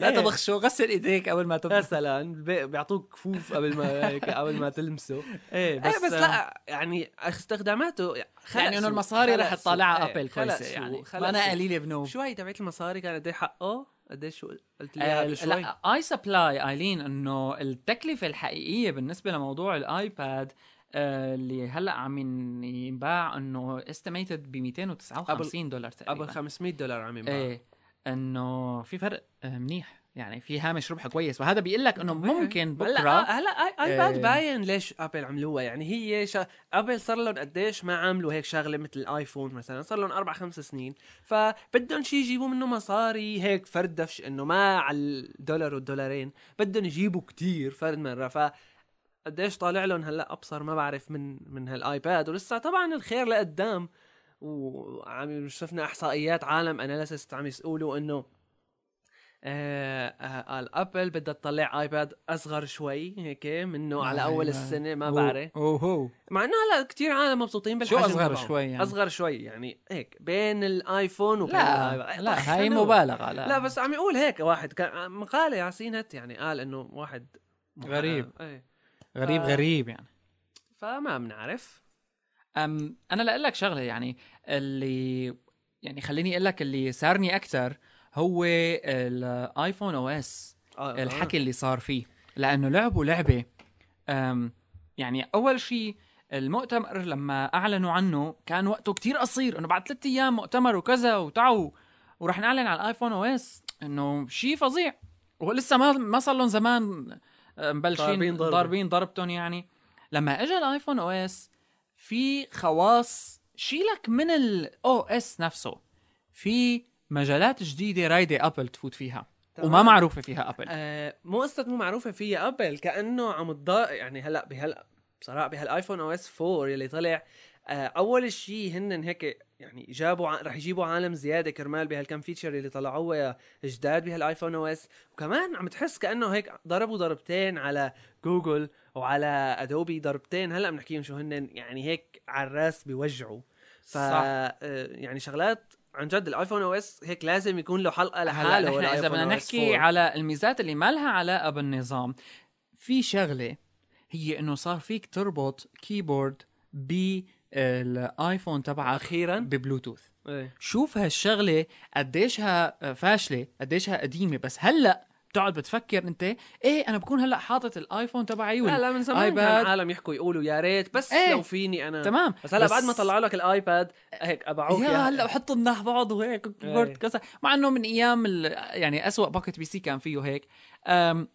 Speaker 1: لا
Speaker 2: إيه.
Speaker 1: تبخشه غسل ايديك قبل ما تبخ
Speaker 2: مثلا إيه. بي- بيعطوك كفوف قبل ما هيك قبل ما تلمسه
Speaker 1: ايه
Speaker 2: بس, إيه، بس لا يعني استخداماته خلق
Speaker 1: يعني انه
Speaker 2: سوق،
Speaker 1: المصاري
Speaker 2: خلق
Speaker 1: رح
Speaker 2: سوق،
Speaker 1: تطلعها
Speaker 2: إيه،
Speaker 1: ابل
Speaker 2: خلق
Speaker 1: كويسه
Speaker 2: سوق،
Speaker 1: يعني
Speaker 2: خلق
Speaker 1: ما انا
Speaker 2: سوق.
Speaker 1: قليله بنوم
Speaker 2: شو هي تبعت المصاري كان قد ايه حقه؟ قد ايش شو قلت لي
Speaker 1: آه،
Speaker 2: إياها قبل شوي
Speaker 1: لا اي سبلاي ايلين انه التكلفه الحقيقيه بالنسبه لموضوع الايباد آه، اللي هلا عم ين- ينباع انه استيميتد ب 259 دولار
Speaker 2: قبل
Speaker 1: تقريبا
Speaker 2: 500 دولار عم ينباع
Speaker 1: ايه انه في فرق آه، منيح يعني في هامش ربح كويس وهذا بيقول لك انه ممكن
Speaker 2: هلا آه،
Speaker 1: بكره
Speaker 2: هلا آي- ايباد
Speaker 1: إيه.
Speaker 2: باين ليش ابل عملوها يعني هي شا... ابل صار لهم قديش ما عملوا هيك شغله مثل الايفون مثلا صار لهم اربع خمس سنين فبدهم شيء يجيبوا منه مصاري هيك فردفش انه ما على الدولار والدولارين بدهم يجيبوا كتير فرد مره ف قديش طالع لهم هلا ابصر ما بعرف من من هالايباد ولسه طبعا الخير لقدام وعم شفنا احصائيات عالم اناليسست عم يقولوا انه آه، آه، الابل بدها تطلع ايباد اصغر شوي هيك منه
Speaker 1: آه،
Speaker 2: على اول
Speaker 1: أيوة.
Speaker 2: السنه ما بعرف
Speaker 1: اوه
Speaker 2: مع انه هلا كثير عالم مبسوطين بالحجم
Speaker 1: أصغر
Speaker 2: تبعه.
Speaker 1: شوي يعني؟
Speaker 2: اصغر شوي يعني هيك بين الايفون وبين
Speaker 1: لا
Speaker 2: الآيباد. طيب،
Speaker 1: لا هاي
Speaker 2: حلو.
Speaker 1: مبالغه لا
Speaker 2: لا بس عم يقول هيك واحد كان مقاله ياسين هت يعني قال انه واحد
Speaker 1: غريب.
Speaker 2: ايه
Speaker 1: غريب
Speaker 2: آه.
Speaker 1: غريب يعني
Speaker 2: فما بنعرف
Speaker 1: أم انا لاقول لك شغله يعني اللي يعني خليني اقول لك اللي سارني اكثر هو الايفون او اس
Speaker 2: آه،
Speaker 1: الحكي اللي صار فيه لانه لعبوا لعبه أم، يعني اول شيء المؤتمر لما اعلنوا عنه كان وقته كتير قصير انه بعد ثلاثة ايام مؤتمر وكذا وتعو ورح نعلن على الايفون او اس انه شيء فظيع ولسه ما ما صار لهم زمان أه، مبلشين
Speaker 2: ضاربين
Speaker 1: ضاربين,
Speaker 2: ضربة.
Speaker 1: ضاربين ضربتهم يعني لما اجى الايفون او اس في خواص شيلك من الاو اس نفسه في مجالات جديده رايده ابل تفوت فيها
Speaker 2: تمام.
Speaker 1: وما معروفه فيها ابل
Speaker 2: آه، مو قصة مو معروفة فيها ابل كأنه عم تضاء يعني هلا بهلا بصراحة بهالايفون او اس 4 يلي طلع آه، اول شيء هن هيك يعني جابوا ع- رح يجيبوا عالم زيادة كرمال بهالكم فيتشر اللي طلعوها جداد بهالايفون او اس وكمان عم تحس كأنه هيك ضربوا ضربتين على جوجل وعلى ادوبي ضربتين هلا بنحكيهم شو هن يعني هيك على الراس بيوجعوا ف آه، يعني شغلات عن جد الايفون او اس هيك لازم يكون له حلقه
Speaker 1: هلا
Speaker 2: لحاله
Speaker 1: نحن اذا
Speaker 2: للآيفون
Speaker 1: بدنا
Speaker 2: OS
Speaker 1: نحكي
Speaker 2: 4.
Speaker 1: على الميزات اللي ما لها علاقه بالنظام في شغله هي انه صار فيك تربط كيبورد بالايفون تبعك
Speaker 2: اخيرا
Speaker 1: ببلوتوث
Speaker 2: ايه
Speaker 1: شوف هالشغله قديشها فاشله قديشها قديمه بس هلا بتقعد بتفكر انت ايه انا بكون هلا حاطط الايفون تبعي
Speaker 2: لا
Speaker 1: وال...
Speaker 2: لا من زمان
Speaker 1: آيباد.
Speaker 2: كان عالم يحكوا يقولوا يا ريت بس
Speaker 1: إيه.
Speaker 2: لو فيني انا
Speaker 1: تمام
Speaker 2: بس هلا بعد ما طلعوا لك الايباد هيك يعني. ابعوك
Speaker 1: يا
Speaker 2: إياها.
Speaker 1: هلا وحطوا مناح بعض وهيك
Speaker 2: إيه.
Speaker 1: وكيبورد كذا مع انه من ايام ال... يعني أسوأ باكت بي سي كان فيه هيك أم...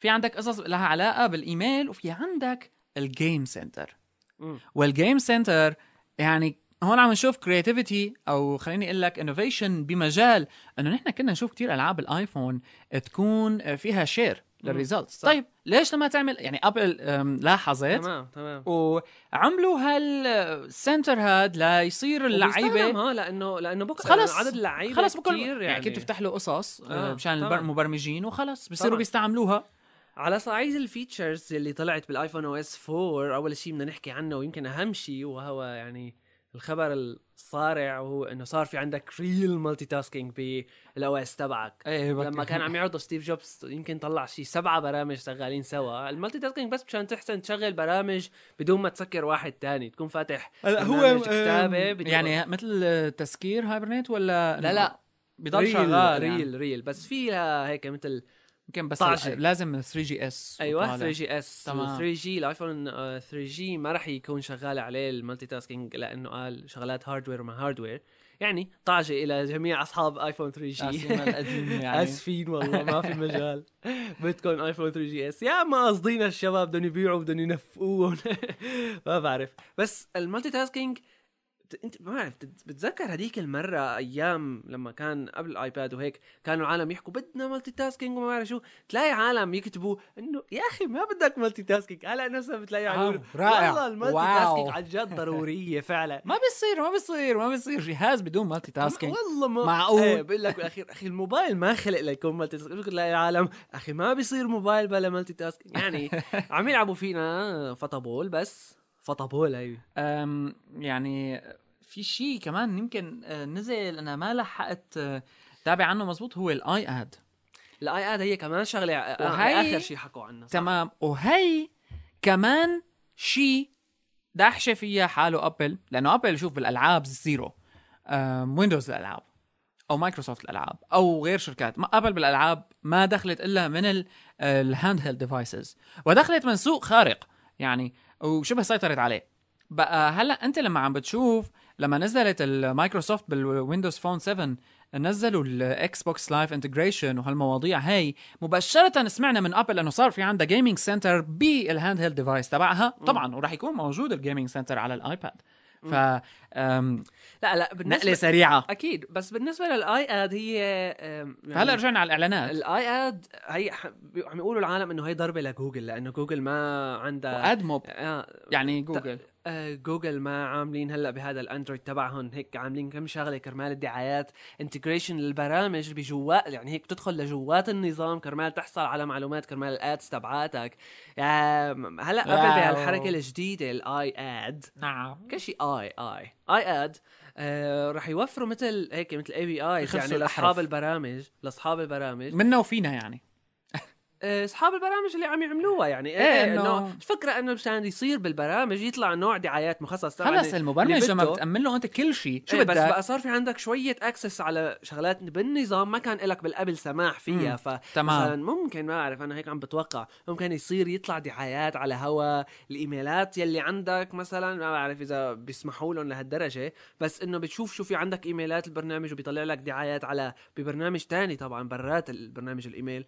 Speaker 1: في عندك قصص لها علاقه بالايميل وفي عندك الجيم سنتر
Speaker 2: مم.
Speaker 1: والجيم سنتر يعني هون عم نشوف كرياتيفيتي او خليني اقول لك انوفيشن بمجال انه نحن كنا نشوف كتير العاب الايفون تكون فيها شير للريزلتس
Speaker 2: صح.
Speaker 1: طيب ليش لما تعمل يعني ابل أم، لاحظت
Speaker 2: تمام تمام
Speaker 1: وعملوا هالسنتر هاد ليصير
Speaker 2: وبيستخدم،
Speaker 1: اللعيبه
Speaker 2: ها لانه لانه بكره
Speaker 1: خلص.
Speaker 2: خلص عدد اللعيبه
Speaker 1: خلص بكل
Speaker 2: كتير
Speaker 1: يعني,
Speaker 2: يعني,
Speaker 1: كنت تفتح له قصص آه،
Speaker 2: آه،
Speaker 1: مشان
Speaker 2: طبعاً.
Speaker 1: المبرمجين وخلص بيصيروا
Speaker 2: طبعاً.
Speaker 1: بيستعملوها
Speaker 2: على صعيد الفيتشرز اللي طلعت بالايفون او اس 4 اول شيء بدنا نحكي عنه ويمكن اهم شيء وهو يعني الخبر الصارع وهو انه صار في عندك ريل مالتي تاسكينج بالاو اس تبعك
Speaker 1: ايه
Speaker 2: لما كان عم يعرضوا ستيف جوبز يمكن طلع شي سبعة برامج شغالين سوا المالتي تاسكينج بس مشان تحسن تشغل برامج بدون ما تسكر واحد تاني تكون فاتح برنامج كتابة بدون-
Speaker 1: يعني مثل تسكير هايبرنت ولا
Speaker 2: لا لا
Speaker 1: بضل
Speaker 2: ريل-
Speaker 1: شغال
Speaker 2: ريل
Speaker 1: يعني.
Speaker 2: ريل بس فيها هيك مثل
Speaker 1: يمكن بس
Speaker 2: طاجة.
Speaker 1: لازم 3 جي اس
Speaker 2: ايوه 3 جي اس
Speaker 1: تمام.
Speaker 2: 3 جي الايفون 3 جي آه، ما راح يكون شغال عليه المالتي تاسكينج لانه قال شغلات هاردوير وما هاردوير يعني طاجه الى جميع اصحاب ايفون 3 جي
Speaker 1: القديم يعني
Speaker 2: اسفين والله ما في مجال بدكم ايفون 3 جي اس يا ما قصدينا الشباب بدهم يبيعوا بدهم ينفقوهم ما بعرف بس المالتي تاسكينج بت- انت ما بعرف بت- بتتذكر هذيك المره ايام لما كان قبل الايباد وهيك كانوا العالم يحكوا بدنا مالتي تاسكينج وما بعرف شو تلاقي عالم يكتبوا انه يا اخي ما بدك مالتي تاسكينج هلا نفسها بتلاقي عم
Speaker 1: آه،
Speaker 2: يقولوا
Speaker 1: رائع.
Speaker 2: والله المالتي
Speaker 1: واو.
Speaker 2: تاسكينج عن جد ضروريه فعلا
Speaker 1: ما بيصير ما بيصير ما بيصير جهاز بدون مالتي تاسكينج
Speaker 2: والله ما
Speaker 1: معقول؟
Speaker 2: ايه بقول لك بالاخير اخي الموبايل ما خلق ليكون مالتي تاسكينج ممكن تلاقي العالم اخي ما بيصير موبايل بلا مالتي تاسكينج يعني عم يلعبوا فينا فطبول بس فطبول هي
Speaker 1: أم، يعني في شيء كمان يمكن آه، نزل انا ما لحقت آه، تابع عنه مزبوط هو الاي اد
Speaker 2: الاي اد هي كمان شغله آه،
Speaker 1: وهي-
Speaker 2: اخر شيء حكوا عنها صح؟
Speaker 1: تمام وهي كمان شيء دحشه فيها حاله ابل لانه ابل شوف بالالعاب زيرو أم، ويندوز الالعاب او مايكروسوفت الالعاب او غير شركات ما ابل بالالعاب ما دخلت الا من الهاند هيلد ديفايسز ودخلت من سوق خارق يعني وشبه سيطرت عليه بقى هلا انت لما عم بتشوف لما نزلت المايكروسوفت بالويندوز فون 7 نزلوا الاكس بوكس لايف انتجريشن وهالمواضيع هي مباشره سمعنا من ابل انه صار في عندها جيمنج سنتر بالهاند هيلد ديفايس تبعها طبعا وراح يكون موجود الجيمنج سنتر على الايباد ف أم،
Speaker 2: لا لا بالنسبه
Speaker 1: نقله سريعه
Speaker 2: اكيد بس بالنسبه للاي اد هي آم، يعني
Speaker 1: هلا رجعنا على الاعلانات
Speaker 2: الاي اد هي ح- بي- عم يقولوا العالم انه هي ضربه لجوجل لانه جوجل ما عندها
Speaker 1: ادموب
Speaker 2: آه،
Speaker 1: يعني جوجل
Speaker 2: آه، جوجل ما عاملين هلا بهذا الاندرويد تبعهم هيك عاملين كم شغله كرمال الدعايات انتجريشن للبرامج بجوات يعني هيك بتدخل لجوات النظام كرمال تحصل على معلومات كرمال الادز تبعاتك آه، م- هلا قبل
Speaker 1: واو.
Speaker 2: بهالحركه الجديده الاي اد
Speaker 1: نعم
Speaker 2: كل شيء اي اي اي اد آه رح يوفروا مثل هيك مثل اي بي اي
Speaker 1: يخلصوا
Speaker 2: يعني
Speaker 1: الأحرف.
Speaker 2: لاصحاب البرامج لاصحاب البرامج
Speaker 1: منا وفينا يعني
Speaker 2: آه، اصحاب البرامج اللي عم يعملوها يعني
Speaker 1: إيه،
Speaker 2: إيه، انه
Speaker 1: إنه-
Speaker 2: الفكره انه مشان يصير بالبرامج يطلع نوع دعايات مخصص طبعاً
Speaker 1: خلص المبرمج
Speaker 2: اللي
Speaker 1: لما
Speaker 2: بده-
Speaker 1: بتامن له انت كل شيء شو
Speaker 2: شو بس
Speaker 1: بدك
Speaker 2: بقى صار في عندك شويه اكسس على شغلات بالنظام ما كان لك بالقبل سماح فيها
Speaker 1: مم.
Speaker 2: ف
Speaker 1: تمام.
Speaker 2: مثلا ممكن ما اعرف انا هيك عم بتوقع ممكن يصير يطلع دعايات على هوا الايميلات يلي عندك مثلا ما بعرف اذا بيسمحوا لهم لهالدرجه بس انه بتشوف شو في عندك ايميلات البرنامج وبيطلع لك دعايات على ببرنامج تاني طبعا برات البرنامج الايميل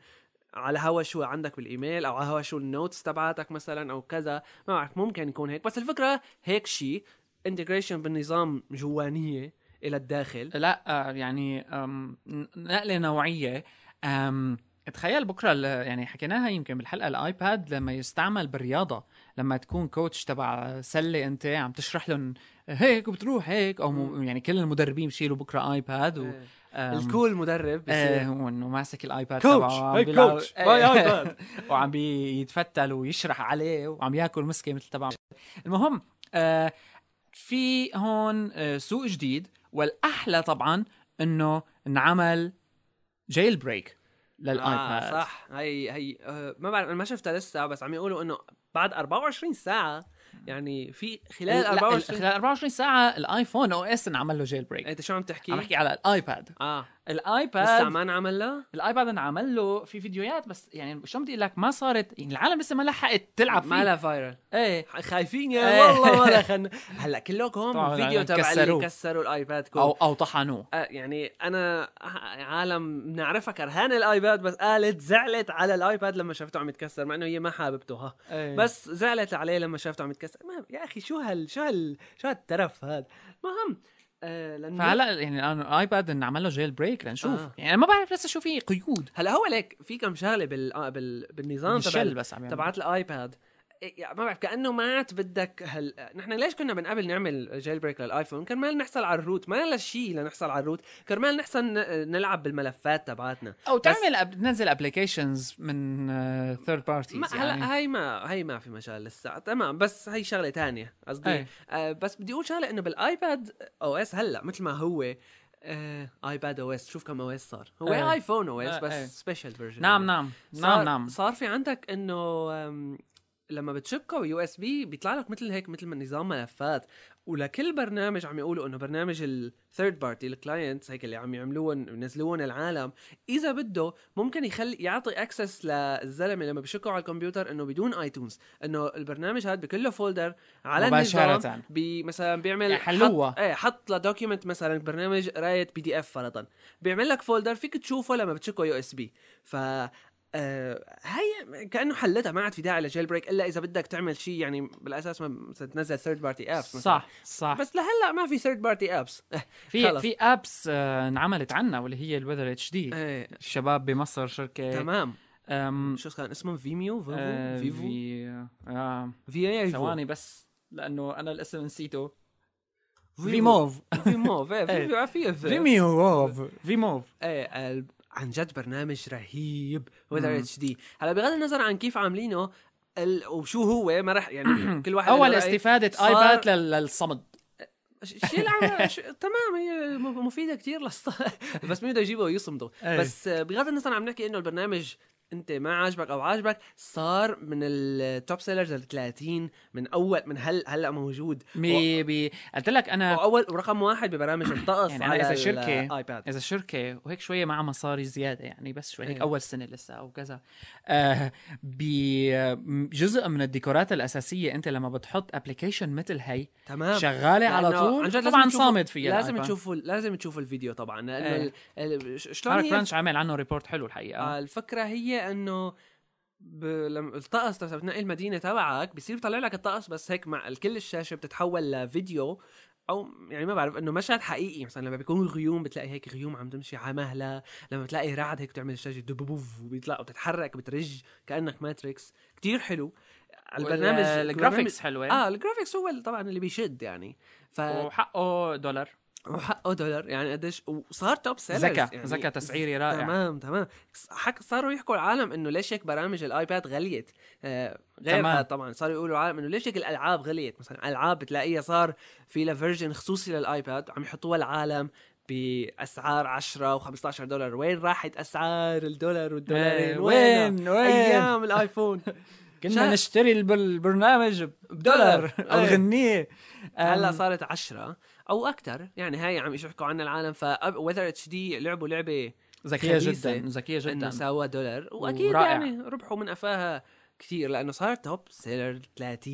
Speaker 2: على هوا شو عندك بالايميل او على هوا شو النوتس تبعتك مثلا او كذا ما بعرف ممكن يكون هيك بس الفكره هيك شيء انتجريشن بالنظام جوانيه الى الداخل
Speaker 1: لا آه، يعني أم، ن- نقله نوعيه أم، تخيل بكره ال- يعني حكيناها يمكن بالحلقه الايباد لما يستعمل بالرياضه لما تكون كوتش تبع سله انت عم تشرح لهم هيك وبتروح هيك او م- يعني كل المدربين بشيلوا بكره ايباد و
Speaker 2: إيه.
Speaker 1: أم،
Speaker 2: الكول مدرب بصير
Speaker 1: آه وانه ماسك الايباد
Speaker 2: كوتش
Speaker 1: تبعه وعم
Speaker 2: هي
Speaker 1: بيلعب-
Speaker 2: كوتش
Speaker 1: إيه.
Speaker 2: ماي ايباد
Speaker 1: وعم بيتفتل ويشرح عليه وعم ياكل مسكه مثل تبع المهم آه في هون آه سوق جديد والاحلى طبعا انه انعمل جيل بريك للايباد
Speaker 2: آه صح هي هي آه، ما بعرف انا ما شفتها لسه بس عم يقولوا انه بعد 24 ساعه يعني في خلال
Speaker 1: لا،
Speaker 2: 24
Speaker 1: خلال 24 ساعه الايفون او اس انعمل له جيل بريك
Speaker 2: انت إيه، شو عم تحكي؟
Speaker 1: عم بحكي على الايباد
Speaker 2: اه لسه
Speaker 1: الايباد
Speaker 2: ما انعمل لها؟
Speaker 1: الايباد انعمل له في فيديوهات بس يعني شو بدي اقول لك ما صارت يعني العالم لسه ما لحقت تلعب فيه
Speaker 2: ما لها فايرل
Speaker 1: ايه
Speaker 2: خايفين يا
Speaker 1: إيه.
Speaker 2: والله ما دخلنا هلا كلكم
Speaker 1: طبعاً يعني
Speaker 2: الفيديو تبع اللي
Speaker 1: كسروه.
Speaker 2: كسروا الايباد كله
Speaker 1: او او طحنوه
Speaker 2: آه، يعني انا ع- عالم بنعرفها كرهان الايباد بس قالت زعلت على الايباد لما شافته عم يتكسر مع انه هي ما حاببته ها
Speaker 1: بس
Speaker 2: إيه. بس زعلت عليه لما شافته عم يتكسر ما يا اخي شو هال شو هال شو هالترف هذا مهم آه لانه
Speaker 1: فهلا يعني الآن الايباد نعمل له جيل بريك لنشوف
Speaker 2: آه.
Speaker 1: آه. يعني أنا ما بعرف لسه شو في قيود
Speaker 2: هلا هو ليك في كم شغله بال... آه، بال... بالنظام تبع
Speaker 1: الشل بس عم يعمل.
Speaker 2: تبعت الايباد إيه، يعني ما بعرف كانه مات بدك هل نحن ليش كنا من قبل نعمل جيل بريك للايفون كرمال نحصل على الروت ما لا شيء لنحصل على الروت كرمال نحصل ن- نلعب بالملفات تبعتنا
Speaker 1: او
Speaker 2: بس-
Speaker 1: تعمل أب... تنزل ابلكيشنز من ثيرد
Speaker 2: ما
Speaker 1: بارتيز يعني
Speaker 2: هلا هاي ما هاي ما في مجال لسه تمام بس هاي شغله تانية قصدي
Speaker 1: إيه.
Speaker 2: آه بس بدي اقول شغله انه بالايباد او اس هلا مثل ما هو آه ايباد او اس شوف كم او اس صار هو
Speaker 1: إيه.
Speaker 2: ايفون او اس
Speaker 1: إيه، إيه.
Speaker 2: بس سبيشال فيرجن
Speaker 1: نعم نعم
Speaker 2: صار
Speaker 1: نعم نعم
Speaker 2: صار في عندك انه أم، لما بتشبكه يو اس بي بيطلع لك مثل هيك مثل ما نظام ملفات ولكل برنامج عم يقولوا انه برنامج الثيرد بارتي الكلاينتس هيك اللي عم يعملوهم ينزلوهم العالم اذا بده ممكن يخلي يعطي اكسس للزلمه لما بشكوا على الكمبيوتر انه بدون ايتونز انه البرنامج هذا بكله فولدر على
Speaker 1: مباشرة.
Speaker 2: النظام بي مثلا
Speaker 1: يعني
Speaker 2: بيعمل
Speaker 1: يحلوها.
Speaker 2: حط ايه حط لدوكيمنت مثلا برنامج قرايه بي دي اف فرضا بيعمل لك فولدر فيك تشوفه لما بتشكه يو اس بي ف آه، هي كانه حلتها ما عاد في داعي لجيل بريك الا اذا بدك تعمل شيء يعني بالاساس ما مثلا تنزل ثيرد بارتي ابس
Speaker 1: صح صح
Speaker 2: بس لهلا ما في ثيرد بارتي ابس
Speaker 1: في في ابس انعملت عنا واللي هي الوذر اتش دي
Speaker 2: ايه
Speaker 1: الشباب بمصر شركه
Speaker 2: تمام
Speaker 1: أم...
Speaker 2: شو كان اسمه فيميو فيفو
Speaker 1: إيه. آه،
Speaker 2: فيفو
Speaker 1: في... آه...
Speaker 2: في اي
Speaker 1: ثواني بس لانه انا الاسم نسيته فيموف
Speaker 2: فيموف ايه
Speaker 1: إيه.
Speaker 2: فيميو في في-
Speaker 1: فيميوف فيموف
Speaker 2: ايه آه، عن جد برنامج رهيب وذر اتش دي هلا بغض النظر عن كيف عاملينه ال... وشو هو ما راح يعني كل واحد
Speaker 1: اول
Speaker 2: له رأي.
Speaker 1: استفاده
Speaker 2: صار-
Speaker 1: ايباد لل- للصمد
Speaker 2: شيء العمل ش... تمام هي م- مفيده كثير للص... بس مين بده يجيبه ويصمده
Speaker 1: أي.
Speaker 2: بس آه، بغض النظر عم نحكي انه البرنامج انت ما عاجبك او عاجبك صار من التوب سيلرز ال 30 من اول من هل هلا موجود
Speaker 1: بي بي قلت لك انا
Speaker 2: واول ورقم واحد ببرامج الطقس
Speaker 1: يعني أنا
Speaker 2: على
Speaker 1: إذا شركة-
Speaker 2: الايباد
Speaker 1: اذا شركه وهيك شويه مع مصاري زياده يعني بس شوي هيك
Speaker 2: إيه.
Speaker 1: اول سنه لسه او كذا آه بجزء من الديكورات الاساسيه انت لما بتحط ابلكيشن مثل هي
Speaker 2: تمام
Speaker 1: شغاله على
Speaker 2: لأنه آه.
Speaker 1: طول
Speaker 2: عن جد لازم
Speaker 1: طبعا
Speaker 2: تشوفوا-
Speaker 1: صامد فيها
Speaker 2: لازم
Speaker 1: الآيفون.
Speaker 2: تشوفوا لازم تشوفوا الفيديو طبعا لانه
Speaker 1: آه. إيه.
Speaker 2: ال- ال- ش- شلون
Speaker 1: مارك
Speaker 2: هي
Speaker 1: رانش عامل عنه ريبورت حلو الحقيقه
Speaker 2: آه، الفكره هي انه ب... لما الطقس تبع بتنقي المدينه تبعك بصير بيطلع لك الطقس بس هيك مع كل الشاشه بتتحول لفيديو او يعني ما بعرف انه مشهد حقيقي مثلا لما بيكون غيوم بتلاقي هيك غيوم عم تمشي على مهله لما بتلاقي رعد هيك بتعمل الشاشه دبوف وبيطلع وبتتحرك بترج كانك ماتريكس كتير حلو البرنامج
Speaker 1: آه، الجرافيكس حلوه
Speaker 2: اه الجرافيكس هو اللي- طبعا اللي بيشد يعني ف
Speaker 1: وحقه دولار
Speaker 2: وحقه دولار يعني قديش وصار توب سيلرز
Speaker 1: ذكاء
Speaker 2: يعني
Speaker 1: ذكاء تسعيري رائع
Speaker 2: تمام تمام حك صاروا يحكوا العالم انه ليش هيك برامج الايباد غليت آه غير
Speaker 1: تمام.
Speaker 2: هذا طبعا صاروا يقولوا العالم انه ليش هيك الالعاب غليت مثلا العاب بتلاقيها صار في لها فيرجن خصوصي للايباد عم يحطوها العالم باسعار 10 و15 دولار وين راحت اسعار الدولار والدولارين
Speaker 1: إيه،
Speaker 2: وين
Speaker 1: وين وين
Speaker 2: ايام الايفون
Speaker 1: كنا
Speaker 2: شا-
Speaker 1: نشتري الب- البرنامج بدولار
Speaker 2: إيه.
Speaker 1: او نغنيه
Speaker 2: هلا صارت 10 او اكثر يعني هاي عم يحكوا عنها العالم ف وذر اتش دي لعبوا لعبه
Speaker 1: ذكيه
Speaker 2: خبيثة
Speaker 1: جدا ذكيه
Speaker 2: انه
Speaker 1: جدا
Speaker 2: سوا دولار واكيد
Speaker 1: ورائع.
Speaker 2: يعني ربحوا من قفاها كثير لانه صار توب سيلر 30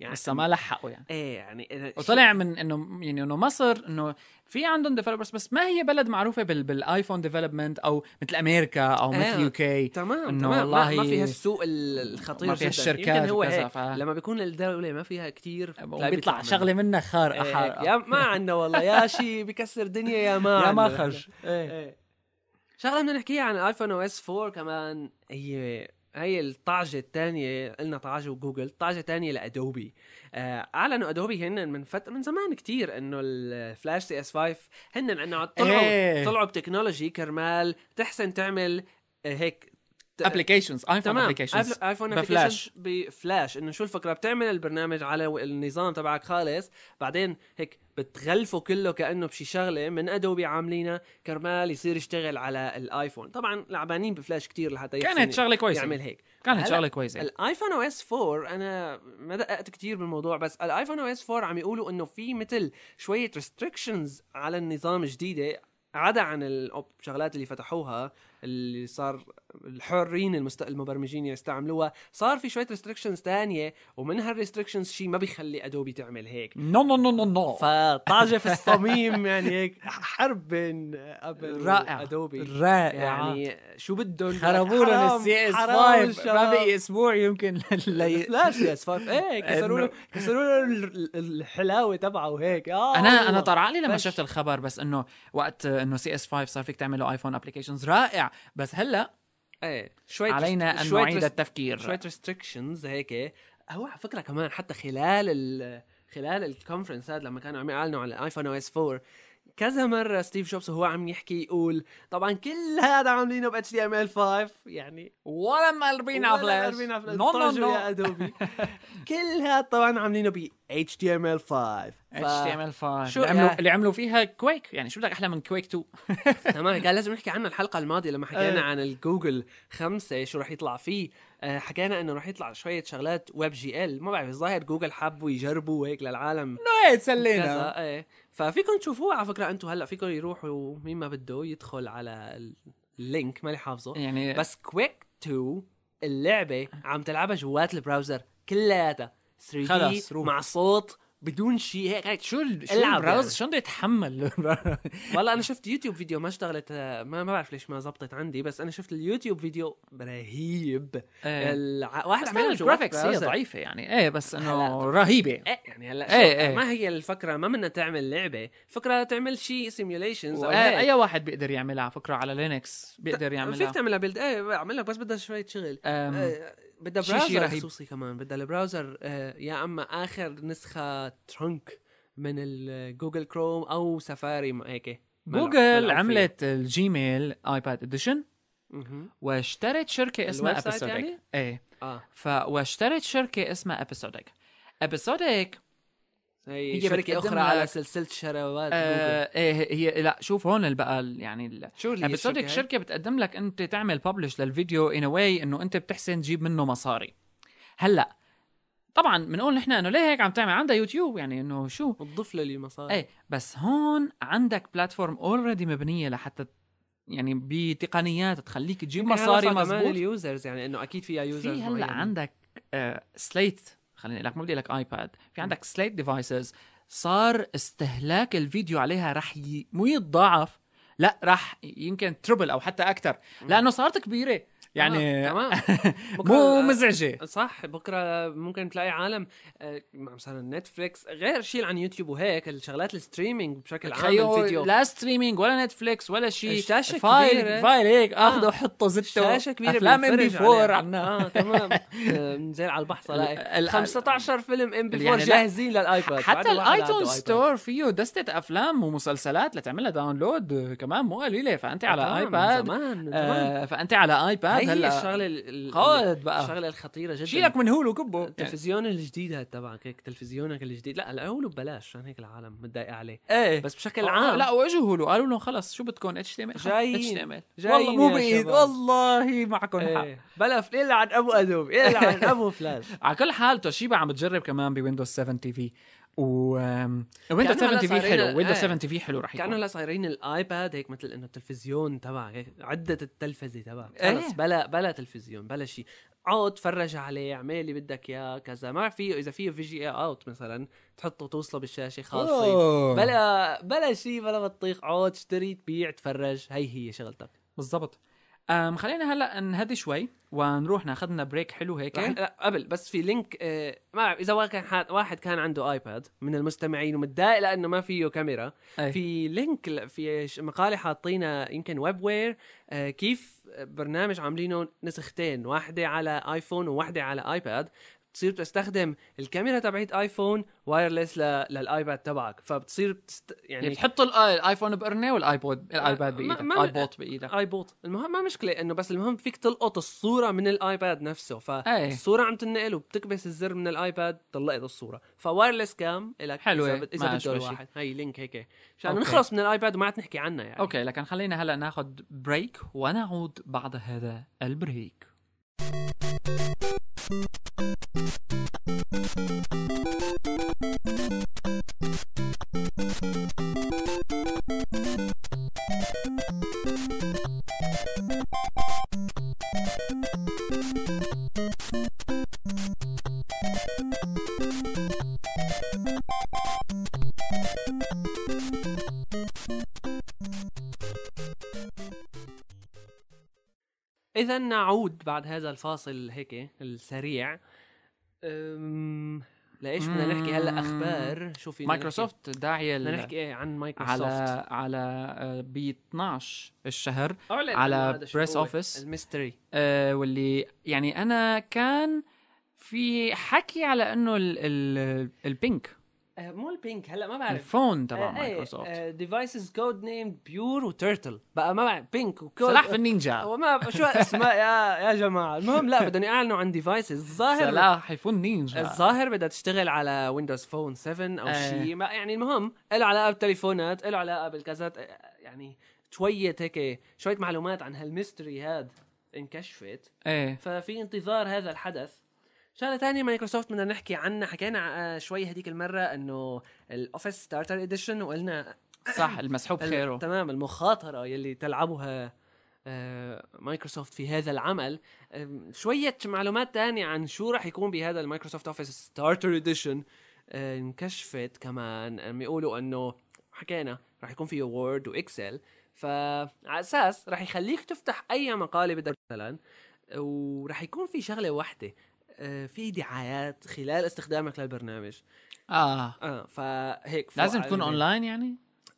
Speaker 2: يعني
Speaker 1: بس ما لحقوا يعني
Speaker 2: ايه يعني
Speaker 1: وطلع من انه يعني انه مصر انه في عندهم ديفلوبرز بس ما هي بلد معروفه بال بالايفون ديفلوبمنت او مثل امريكا او مثل
Speaker 2: إيه.
Speaker 1: يو كي
Speaker 2: تمام
Speaker 1: إنه
Speaker 2: إنه تمام والله
Speaker 1: والله
Speaker 2: ما فيها السوق ال- الخطير
Speaker 1: ما فيها
Speaker 2: جداً.
Speaker 1: الشركات
Speaker 2: يمكن هو
Speaker 1: وكذا،
Speaker 2: هيك
Speaker 1: ف-
Speaker 2: لما بيكون الدوله ما فيها كثير بتلاقي
Speaker 1: بيطلع
Speaker 2: منها.
Speaker 1: شغله منها خارقه
Speaker 2: إيه،
Speaker 1: حارقه
Speaker 2: يا ما عندنا والله يا شي بكسر دنيا يا ما
Speaker 1: يا
Speaker 2: عنا.
Speaker 1: مخرج إيه.
Speaker 2: إيه. شغله بدنا نحكيها عن ايفون او اس 4 كمان هي هي الطعجه الثانيه قلنا طعجه وجوجل طعجه ثانيه لادوبي آه، اعلنوا ادوبي هن من فت... من زمان كتير انه الفلاش سي اس 5 هن انه طلعوا
Speaker 1: إيه.
Speaker 2: طلعوا بتكنولوجي كرمال تحسن تعمل آه، هيك ت-
Speaker 1: ابلكيشنز ايفون
Speaker 2: تمام
Speaker 1: ابلكيشنز
Speaker 2: آيف- ايفون
Speaker 1: بفلاش.
Speaker 2: بفلاش بفلاش انه شو الفكره بتعمل البرنامج على و- النظام تبعك خالص بعدين هيك بتغلفه كله كانه بشي شغله من ادوبي عاملينها كرمال يصير يشتغل على الايفون طبعا لعبانين بفلاش كتير لحتى يحسن
Speaker 1: كانت شغله
Speaker 2: يعمل
Speaker 1: كويسه
Speaker 2: هيك
Speaker 1: كانت
Speaker 2: يعني هلا
Speaker 1: شغله كويسه
Speaker 2: الايفون او اس 4 انا ما دققت كتير بالموضوع بس الايفون او اس 4 عم يقولوا انه في مثل شويه ريستريكشنز على النظام جديده عدا عن ال- الشغلات اللي فتحوها اللي صار الحرين المست... المبرمجين يستعملوها صار في شويه ريستريكشنز تانية ومن هالريستريكشنز شيء ما بيخلي ادوبي تعمل هيك
Speaker 1: نو نو نو نو نو
Speaker 2: فطاجه في الصميم يعني هيك حرب بين ابل
Speaker 1: رائع
Speaker 2: ادوبي
Speaker 1: رائع
Speaker 2: يعني شو بدهم
Speaker 1: خربوا لنا
Speaker 2: حرام-
Speaker 1: السي اس
Speaker 2: حرام
Speaker 1: 5 ما
Speaker 2: الشباب.
Speaker 1: بقي اسبوع يمكن لي...
Speaker 2: لا سي اس 5 ايه كسروا له
Speaker 1: إنه-
Speaker 2: كسروا له ال- ال- الحلاوه تبعه وهيك اه
Speaker 1: انا انا
Speaker 2: والله.
Speaker 1: طرع لي لما
Speaker 2: بش.
Speaker 1: شفت الخبر بس انه وقت آه، انه سي اس 5 صار فيك تعمله ايفون ابلكيشنز رائع بس هلا
Speaker 2: ايه شوية
Speaker 1: علينا ان
Speaker 2: شوية
Speaker 1: نعيد
Speaker 2: ريست-
Speaker 1: التفكير
Speaker 2: شوية ريستريكشنز هيك هو على فكره كمان حتى خلال ال خلال الكونفرنس هذا لما كانوا عم يعلنوا على الايفون او اس 4 كذا مره ستيف جوبز وهو عم يحكي يقول طبعا كل هذا عاملينه ب اتش دي ام ال 5 يعني
Speaker 1: ولا مقلبين على فلاش
Speaker 2: نو نو نو يا ادوبي كل هذا طبعا عاملينه ب اتش تي ام ال 5
Speaker 1: اتش تي ام ال 5
Speaker 2: شو-
Speaker 1: اللي عملوا
Speaker 2: يا-
Speaker 1: اللي عملوا فيها كويك يعني شو بدك احلى من كويك 2
Speaker 2: تمام كان لازم نحكي عنه الحلقه الماضيه لما حكينا
Speaker 1: إيه.
Speaker 2: عن الجوجل خمسة شو رح يطلع فيه آه، حكينا انه رح يطلع شويه شغلات ويب جي ال ما بعرف الظاهر جوجل حبوا يجربوا هيك للعالم
Speaker 1: ايه
Speaker 2: كذا ايه ففيكم تشوفوه على فكره انتم هلا فيكم يروحوا مين ما بده يدخل على اللينك مالي حافظه
Speaker 1: يعني بس
Speaker 2: بس كويك 2 اللعبه عم تلعبها جوات البراوزر كلياتها 3 دي
Speaker 1: خلص، روح.
Speaker 2: مع صوت بدون شيء هيك هيك
Speaker 1: شو ال- شو
Speaker 2: العب
Speaker 1: البراوزر
Speaker 2: يعني. إيه.
Speaker 1: شو بده يتحمل
Speaker 2: والله انا شفت يوتيوب فيديو ما اشتغلت ما ما بعرف ليش ما زبطت عندي بس انا شفت اليوتيوب فيديو رهيب الع... واحد
Speaker 1: إيه. بس
Speaker 2: عمل جوات
Speaker 1: الجرافيكس هي
Speaker 2: براوزر.
Speaker 1: ضعيفه يعني ايه بس انه
Speaker 2: هلا.
Speaker 1: رهيبه
Speaker 2: ايه يعني هلا
Speaker 1: إيه،
Speaker 2: شو-
Speaker 1: إيه.
Speaker 2: ما هي الفكره ما بدنا تعمل لعبه فكره تعمل شيء سيميوليشنز
Speaker 1: و- آه، اي واحد بيقدر يعملها على فكره على لينكس بيقدر
Speaker 2: فيك
Speaker 1: يعملها
Speaker 2: تعملها بيلد ايه اعمل لك بس بدها شويه شغل
Speaker 1: أم،
Speaker 2: آه، بدها
Speaker 1: شي- شي
Speaker 2: براوزر
Speaker 1: رهيب.
Speaker 2: خصوصي كمان بدها البراوزر آه، يا اما اخر نسخه ترنك من ال- جوجل كروم او سفاري ما- هيك ملعب-
Speaker 1: جوجل
Speaker 2: ملعب فيه.
Speaker 1: عملت الجيميل ايباد اديشن
Speaker 2: مهم.
Speaker 1: واشترت شركه اسمها
Speaker 2: الويب سايت
Speaker 1: ابيسودك
Speaker 2: يعني؟
Speaker 1: ايه
Speaker 2: اه
Speaker 1: ف واشترت شركه اسمها ابيسودك ابيسودك
Speaker 2: هي,
Speaker 1: هي
Speaker 2: شركة
Speaker 1: بتقدم
Speaker 2: أخرى على
Speaker 1: لك-
Speaker 2: سلسلة شراوات
Speaker 1: آه ايه هي لا شوف هون اللي بقى ال- يعني ال-
Speaker 2: شو اللي هي
Speaker 1: ابيسودك
Speaker 2: الشركة هاي؟
Speaker 1: شركه بتقدم لك انت تعمل ببلش للفيديو ان واي انه انت بتحسن تجيب منه مصاري هلا طبعا بنقول نحن انه ليه هيك عم تعمل عندها يوتيوب يعني انه شو
Speaker 2: الضفلة اللي مصاري
Speaker 1: ايه بس هون عندك بلاتفورم اوريدي مبنيه لحتى يعني بتقنيات تخليك تجيب مصاري مزبوط
Speaker 2: اليوزرز يعني انه اكيد فيها يوزرز
Speaker 1: في هلا عندك سليت خليني لك ما بدي لك ايباد في عندك سليت ديفايسز صار استهلاك الفيديو عليها رح ي... مو يتضاعف لا رح يمكن تربل او حتى اكثر لانه صارت كبيره يعني
Speaker 2: آه، تمام
Speaker 1: مو مزعجه
Speaker 2: صح بكره ممكن تلاقي عالم آه، مثلا نتفليكس غير شيء عن يوتيوب وهيك الشغلات الستريمينج بشكل عام الفيديو
Speaker 1: تخيل لا ستريمينج ولا نتفليكس ولا شيء
Speaker 2: الشاشة
Speaker 1: فايل
Speaker 2: كبيرة.
Speaker 1: فايل هيك اخذه
Speaker 2: آه.
Speaker 1: وحطه زته
Speaker 2: شاشة كبيرة
Speaker 1: افلام ام بي
Speaker 2: بنتفرج
Speaker 1: 4
Speaker 2: عليها.
Speaker 1: عنا
Speaker 2: اه تمام آه، نزل على البحر
Speaker 1: ال-
Speaker 2: صلاقي
Speaker 1: ال-
Speaker 2: 15 فيلم ام بي
Speaker 1: يعني
Speaker 2: 4
Speaker 1: لا.
Speaker 2: جاهزين للايباد
Speaker 1: حتى
Speaker 2: بعده واحد عنده
Speaker 1: الايتون
Speaker 2: آيباد.
Speaker 1: ستور فيه دستة افلام ومسلسلات لتعملها داونلود آه، كمان مو قليله فانت على
Speaker 2: تمام،
Speaker 1: ايباد
Speaker 2: زمان من زمان
Speaker 1: آه فانت آه، على ايباد
Speaker 2: هاي هي
Speaker 1: هلا.
Speaker 2: الشغله ال- ال-
Speaker 1: خالد بقى
Speaker 2: الشغله الخطيره جدا
Speaker 1: شيلك من هولو
Speaker 2: إيه.
Speaker 1: كبه يعني.
Speaker 2: التلفزيون الجديد هذا تبعك هيك تلفزيونك الجديد لا هلا هو اللي ببلاش عشان هيك العالم متضايقه عليه
Speaker 1: ايه
Speaker 2: إيه. بس بشكل
Speaker 1: آه،
Speaker 2: عام
Speaker 1: لا واجوا هولو قالوا لهم خلص شو بدكم اتش تي ام ال
Speaker 2: جايين.
Speaker 1: والله
Speaker 2: جايين
Speaker 1: مو
Speaker 2: يا
Speaker 1: بعيد إيه.
Speaker 2: شباب.
Speaker 1: والله معكم حق
Speaker 2: ايه بلا ف- العن ابو ادوب العن ابو فلاش
Speaker 1: على كل حال توشيبا عم بتجرب كمان بويندوز 7 تي في و آم،
Speaker 2: كأنه
Speaker 1: ويندوز 7
Speaker 2: هلا
Speaker 1: تي في
Speaker 2: صايرين-
Speaker 1: حلو ويندوز
Speaker 2: إيه.
Speaker 1: 7 تي في حلو رح
Speaker 2: كانه
Speaker 1: يكون
Speaker 2: هلا صايرين الايباد هيك مثل انه التلفزيون تبعك هيك عده التلفزه تبعك
Speaker 1: إيه.
Speaker 2: خلص بلا بلا تلفزيون بلا شيء اقعد تفرج عليه اعمل اللي بدك اياه كذا ما في اذا في في جي اوت مثلا تحطه توصله بالشاشه خاصه
Speaker 1: أوه.
Speaker 2: بلا بلا شيء بلا بطيخ اقعد اشتري تبيع تفرج هي هي شغلتك
Speaker 1: بالضبط أم خلينا هلا نهدي شوي ونروح ناخذ لنا بريك حلو هيك
Speaker 2: رح- لا قبل بس في لينك آه، ما بعرف اذا واحد كان حاد- واحد كان عنده ايباد من المستمعين ومتضايق لانه ما فيه كاميرا
Speaker 1: أي.
Speaker 2: في لينك ل- في ش- مقاله حاطينها يمكن ويب وير آه، كيف برنامج عاملينه نسختين واحده على ايفون وواحده على ايباد بتصير بتستخدم الكاميرا تبعت ايفون وايرلس ل... للايباد تبعك فبتصير بتست...
Speaker 1: يعني
Speaker 2: يعني
Speaker 1: تحط ال- الايفون بقرنه والايبود الايباد
Speaker 2: ما-
Speaker 1: بايدك
Speaker 2: ما-
Speaker 1: الايبوت بايدك
Speaker 2: ايبوت المهم ما مشكله انه بس المهم فيك تلقط الصوره من الايباد نفسه
Speaker 1: أي.
Speaker 2: فالصوره عم تنقل وبتكبس الزر من الايباد طلقت الصوره فوايرلس كام الك
Speaker 1: حلوة،
Speaker 2: اذا, بد... إذا
Speaker 1: ما
Speaker 2: بده
Speaker 1: أشبه شي.
Speaker 2: الواحد هي لينك هيك عشان
Speaker 1: أوكي.
Speaker 2: نخلص من الايباد وما عاد نحكي عنها يعني
Speaker 1: اوكي لكن خلينا هلا ناخذ بريك ونعود بعد هذا البريك
Speaker 2: اذا نعود بعد هذا الفاصل هيك السريع أم... لايش بدنا نحكي هلا اخبار شو في
Speaker 1: مايكروسوفت داعيه
Speaker 2: بدنا
Speaker 1: ال-
Speaker 2: نحكي ايه عن مايكروسوفت
Speaker 1: على على ب 12 الشهر
Speaker 2: أعلن
Speaker 1: على
Speaker 2: عن هذا شو
Speaker 1: press
Speaker 2: هو
Speaker 1: office.
Speaker 2: الميستري
Speaker 1: آه، واللي يعني انا كان في حكي على انه ال- ال- البينك
Speaker 2: آه، مو البينك هلا ما بعرف
Speaker 1: الفون
Speaker 2: إيه،
Speaker 1: تبع
Speaker 2: آه،
Speaker 1: مايكروسوفت
Speaker 2: ديفايسز كود نيم بيور وتيرتل بقى ما بعرف بينك وكود
Speaker 1: سلاح في النينجا
Speaker 2: وما بعرف شو اسماء يا يا جماعه المهم لا بدهم يعلنوا عن ديفايسز الظاهر
Speaker 1: سلاح يفون نينجا
Speaker 2: الظاهر بدها تشتغل على ويندوز فون 7 او
Speaker 1: آه.
Speaker 2: شيء ما- يعني المهم له علاقه بالتليفونات له علاقه بالكذا يعني شويه هيك شويه معلومات عن هالميستري هاد انكشفت
Speaker 1: ايه
Speaker 2: ففي انتظار هذا الحدث شغله ثانيه مايكروسوفت بدنا نحكي عنها حكينا آه، شوي هذيك المره انه الاوفيس ستارتر اديشن وقلنا
Speaker 1: صح المسحوب
Speaker 2: ال-
Speaker 1: خيره
Speaker 2: تمام المخاطره يلي تلعبها آه، مايكروسوفت في هذا العمل آم، شويه معلومات تانية عن شو راح يكون بهذا المايكروسوفت اوفيس ستارتر اديشن آه، انكشفت كمان عم يقولوا انه حكينا راح يكون فيه وورد واكسل فعلى اساس راح يخليك تفتح اي مقاله بدك مثلا وراح يكون في شغله واحده آه، في دعايات خلال استخدامك للبرنامج
Speaker 1: اه
Speaker 2: اه فهيك فوق
Speaker 1: لازم تكون
Speaker 2: على-
Speaker 1: اونلاين يعني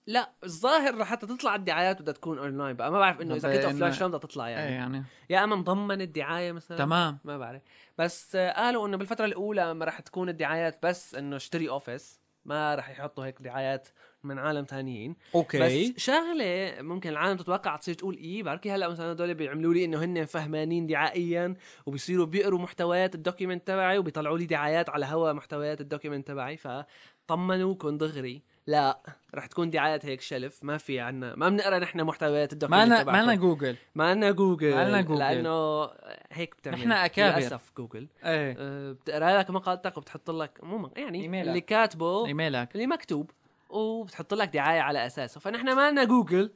Speaker 2: لا الظاهر حتى تطلع الدعايات بدها تكون اونلاين بقى ما بعرف انه اذا
Speaker 1: طب
Speaker 2: كنت
Speaker 1: إنه-
Speaker 2: اوفلاين شلون بدها تطلع
Speaker 1: ايه
Speaker 2: يعني
Speaker 1: يعني
Speaker 2: يا اما مضمن الدعايه مثلا
Speaker 1: تمام
Speaker 2: ما بعرف بس آه، قالوا انه بالفتره الاولى ما راح تكون الدعايات بس انه اشتري اوفيس ما راح يحطوا هيك دعايات من عالم ثانيين
Speaker 1: اوكي
Speaker 2: بس شغله ممكن العالم تتوقع تصير تقول ايه بركي هلا مثلا هدول بيعملوا لي انه هن فهمانين دعائيا وبيصيروا بيقروا محتويات الدوكيمنت تبعي وبيطلعوا لي دعايات على هوا محتويات الدوكيمنت تبعي فطمنوكم دغري لا رح تكون دعايات هيك شلف ما في عنا ما بنقرا نحن محتويات
Speaker 1: ما
Speaker 2: الدوكيمنت
Speaker 1: لنا
Speaker 2: تبعكم
Speaker 1: ما لنا جوجل
Speaker 2: ما لنا جوجل
Speaker 1: ما لنا جوجل.
Speaker 2: لانه هيك بتعمل
Speaker 1: نحن أكابر.
Speaker 2: للاسف جوجل
Speaker 1: ايه
Speaker 2: أه، بتقرا لك مقالتك وبتحط لك مو مق- يعني
Speaker 1: إيميلك.
Speaker 2: اللي كاتبه
Speaker 1: ايميلك
Speaker 2: اللي مكتوب وبتحط لك دعايه على اساسه فنحن ما لنا جوجل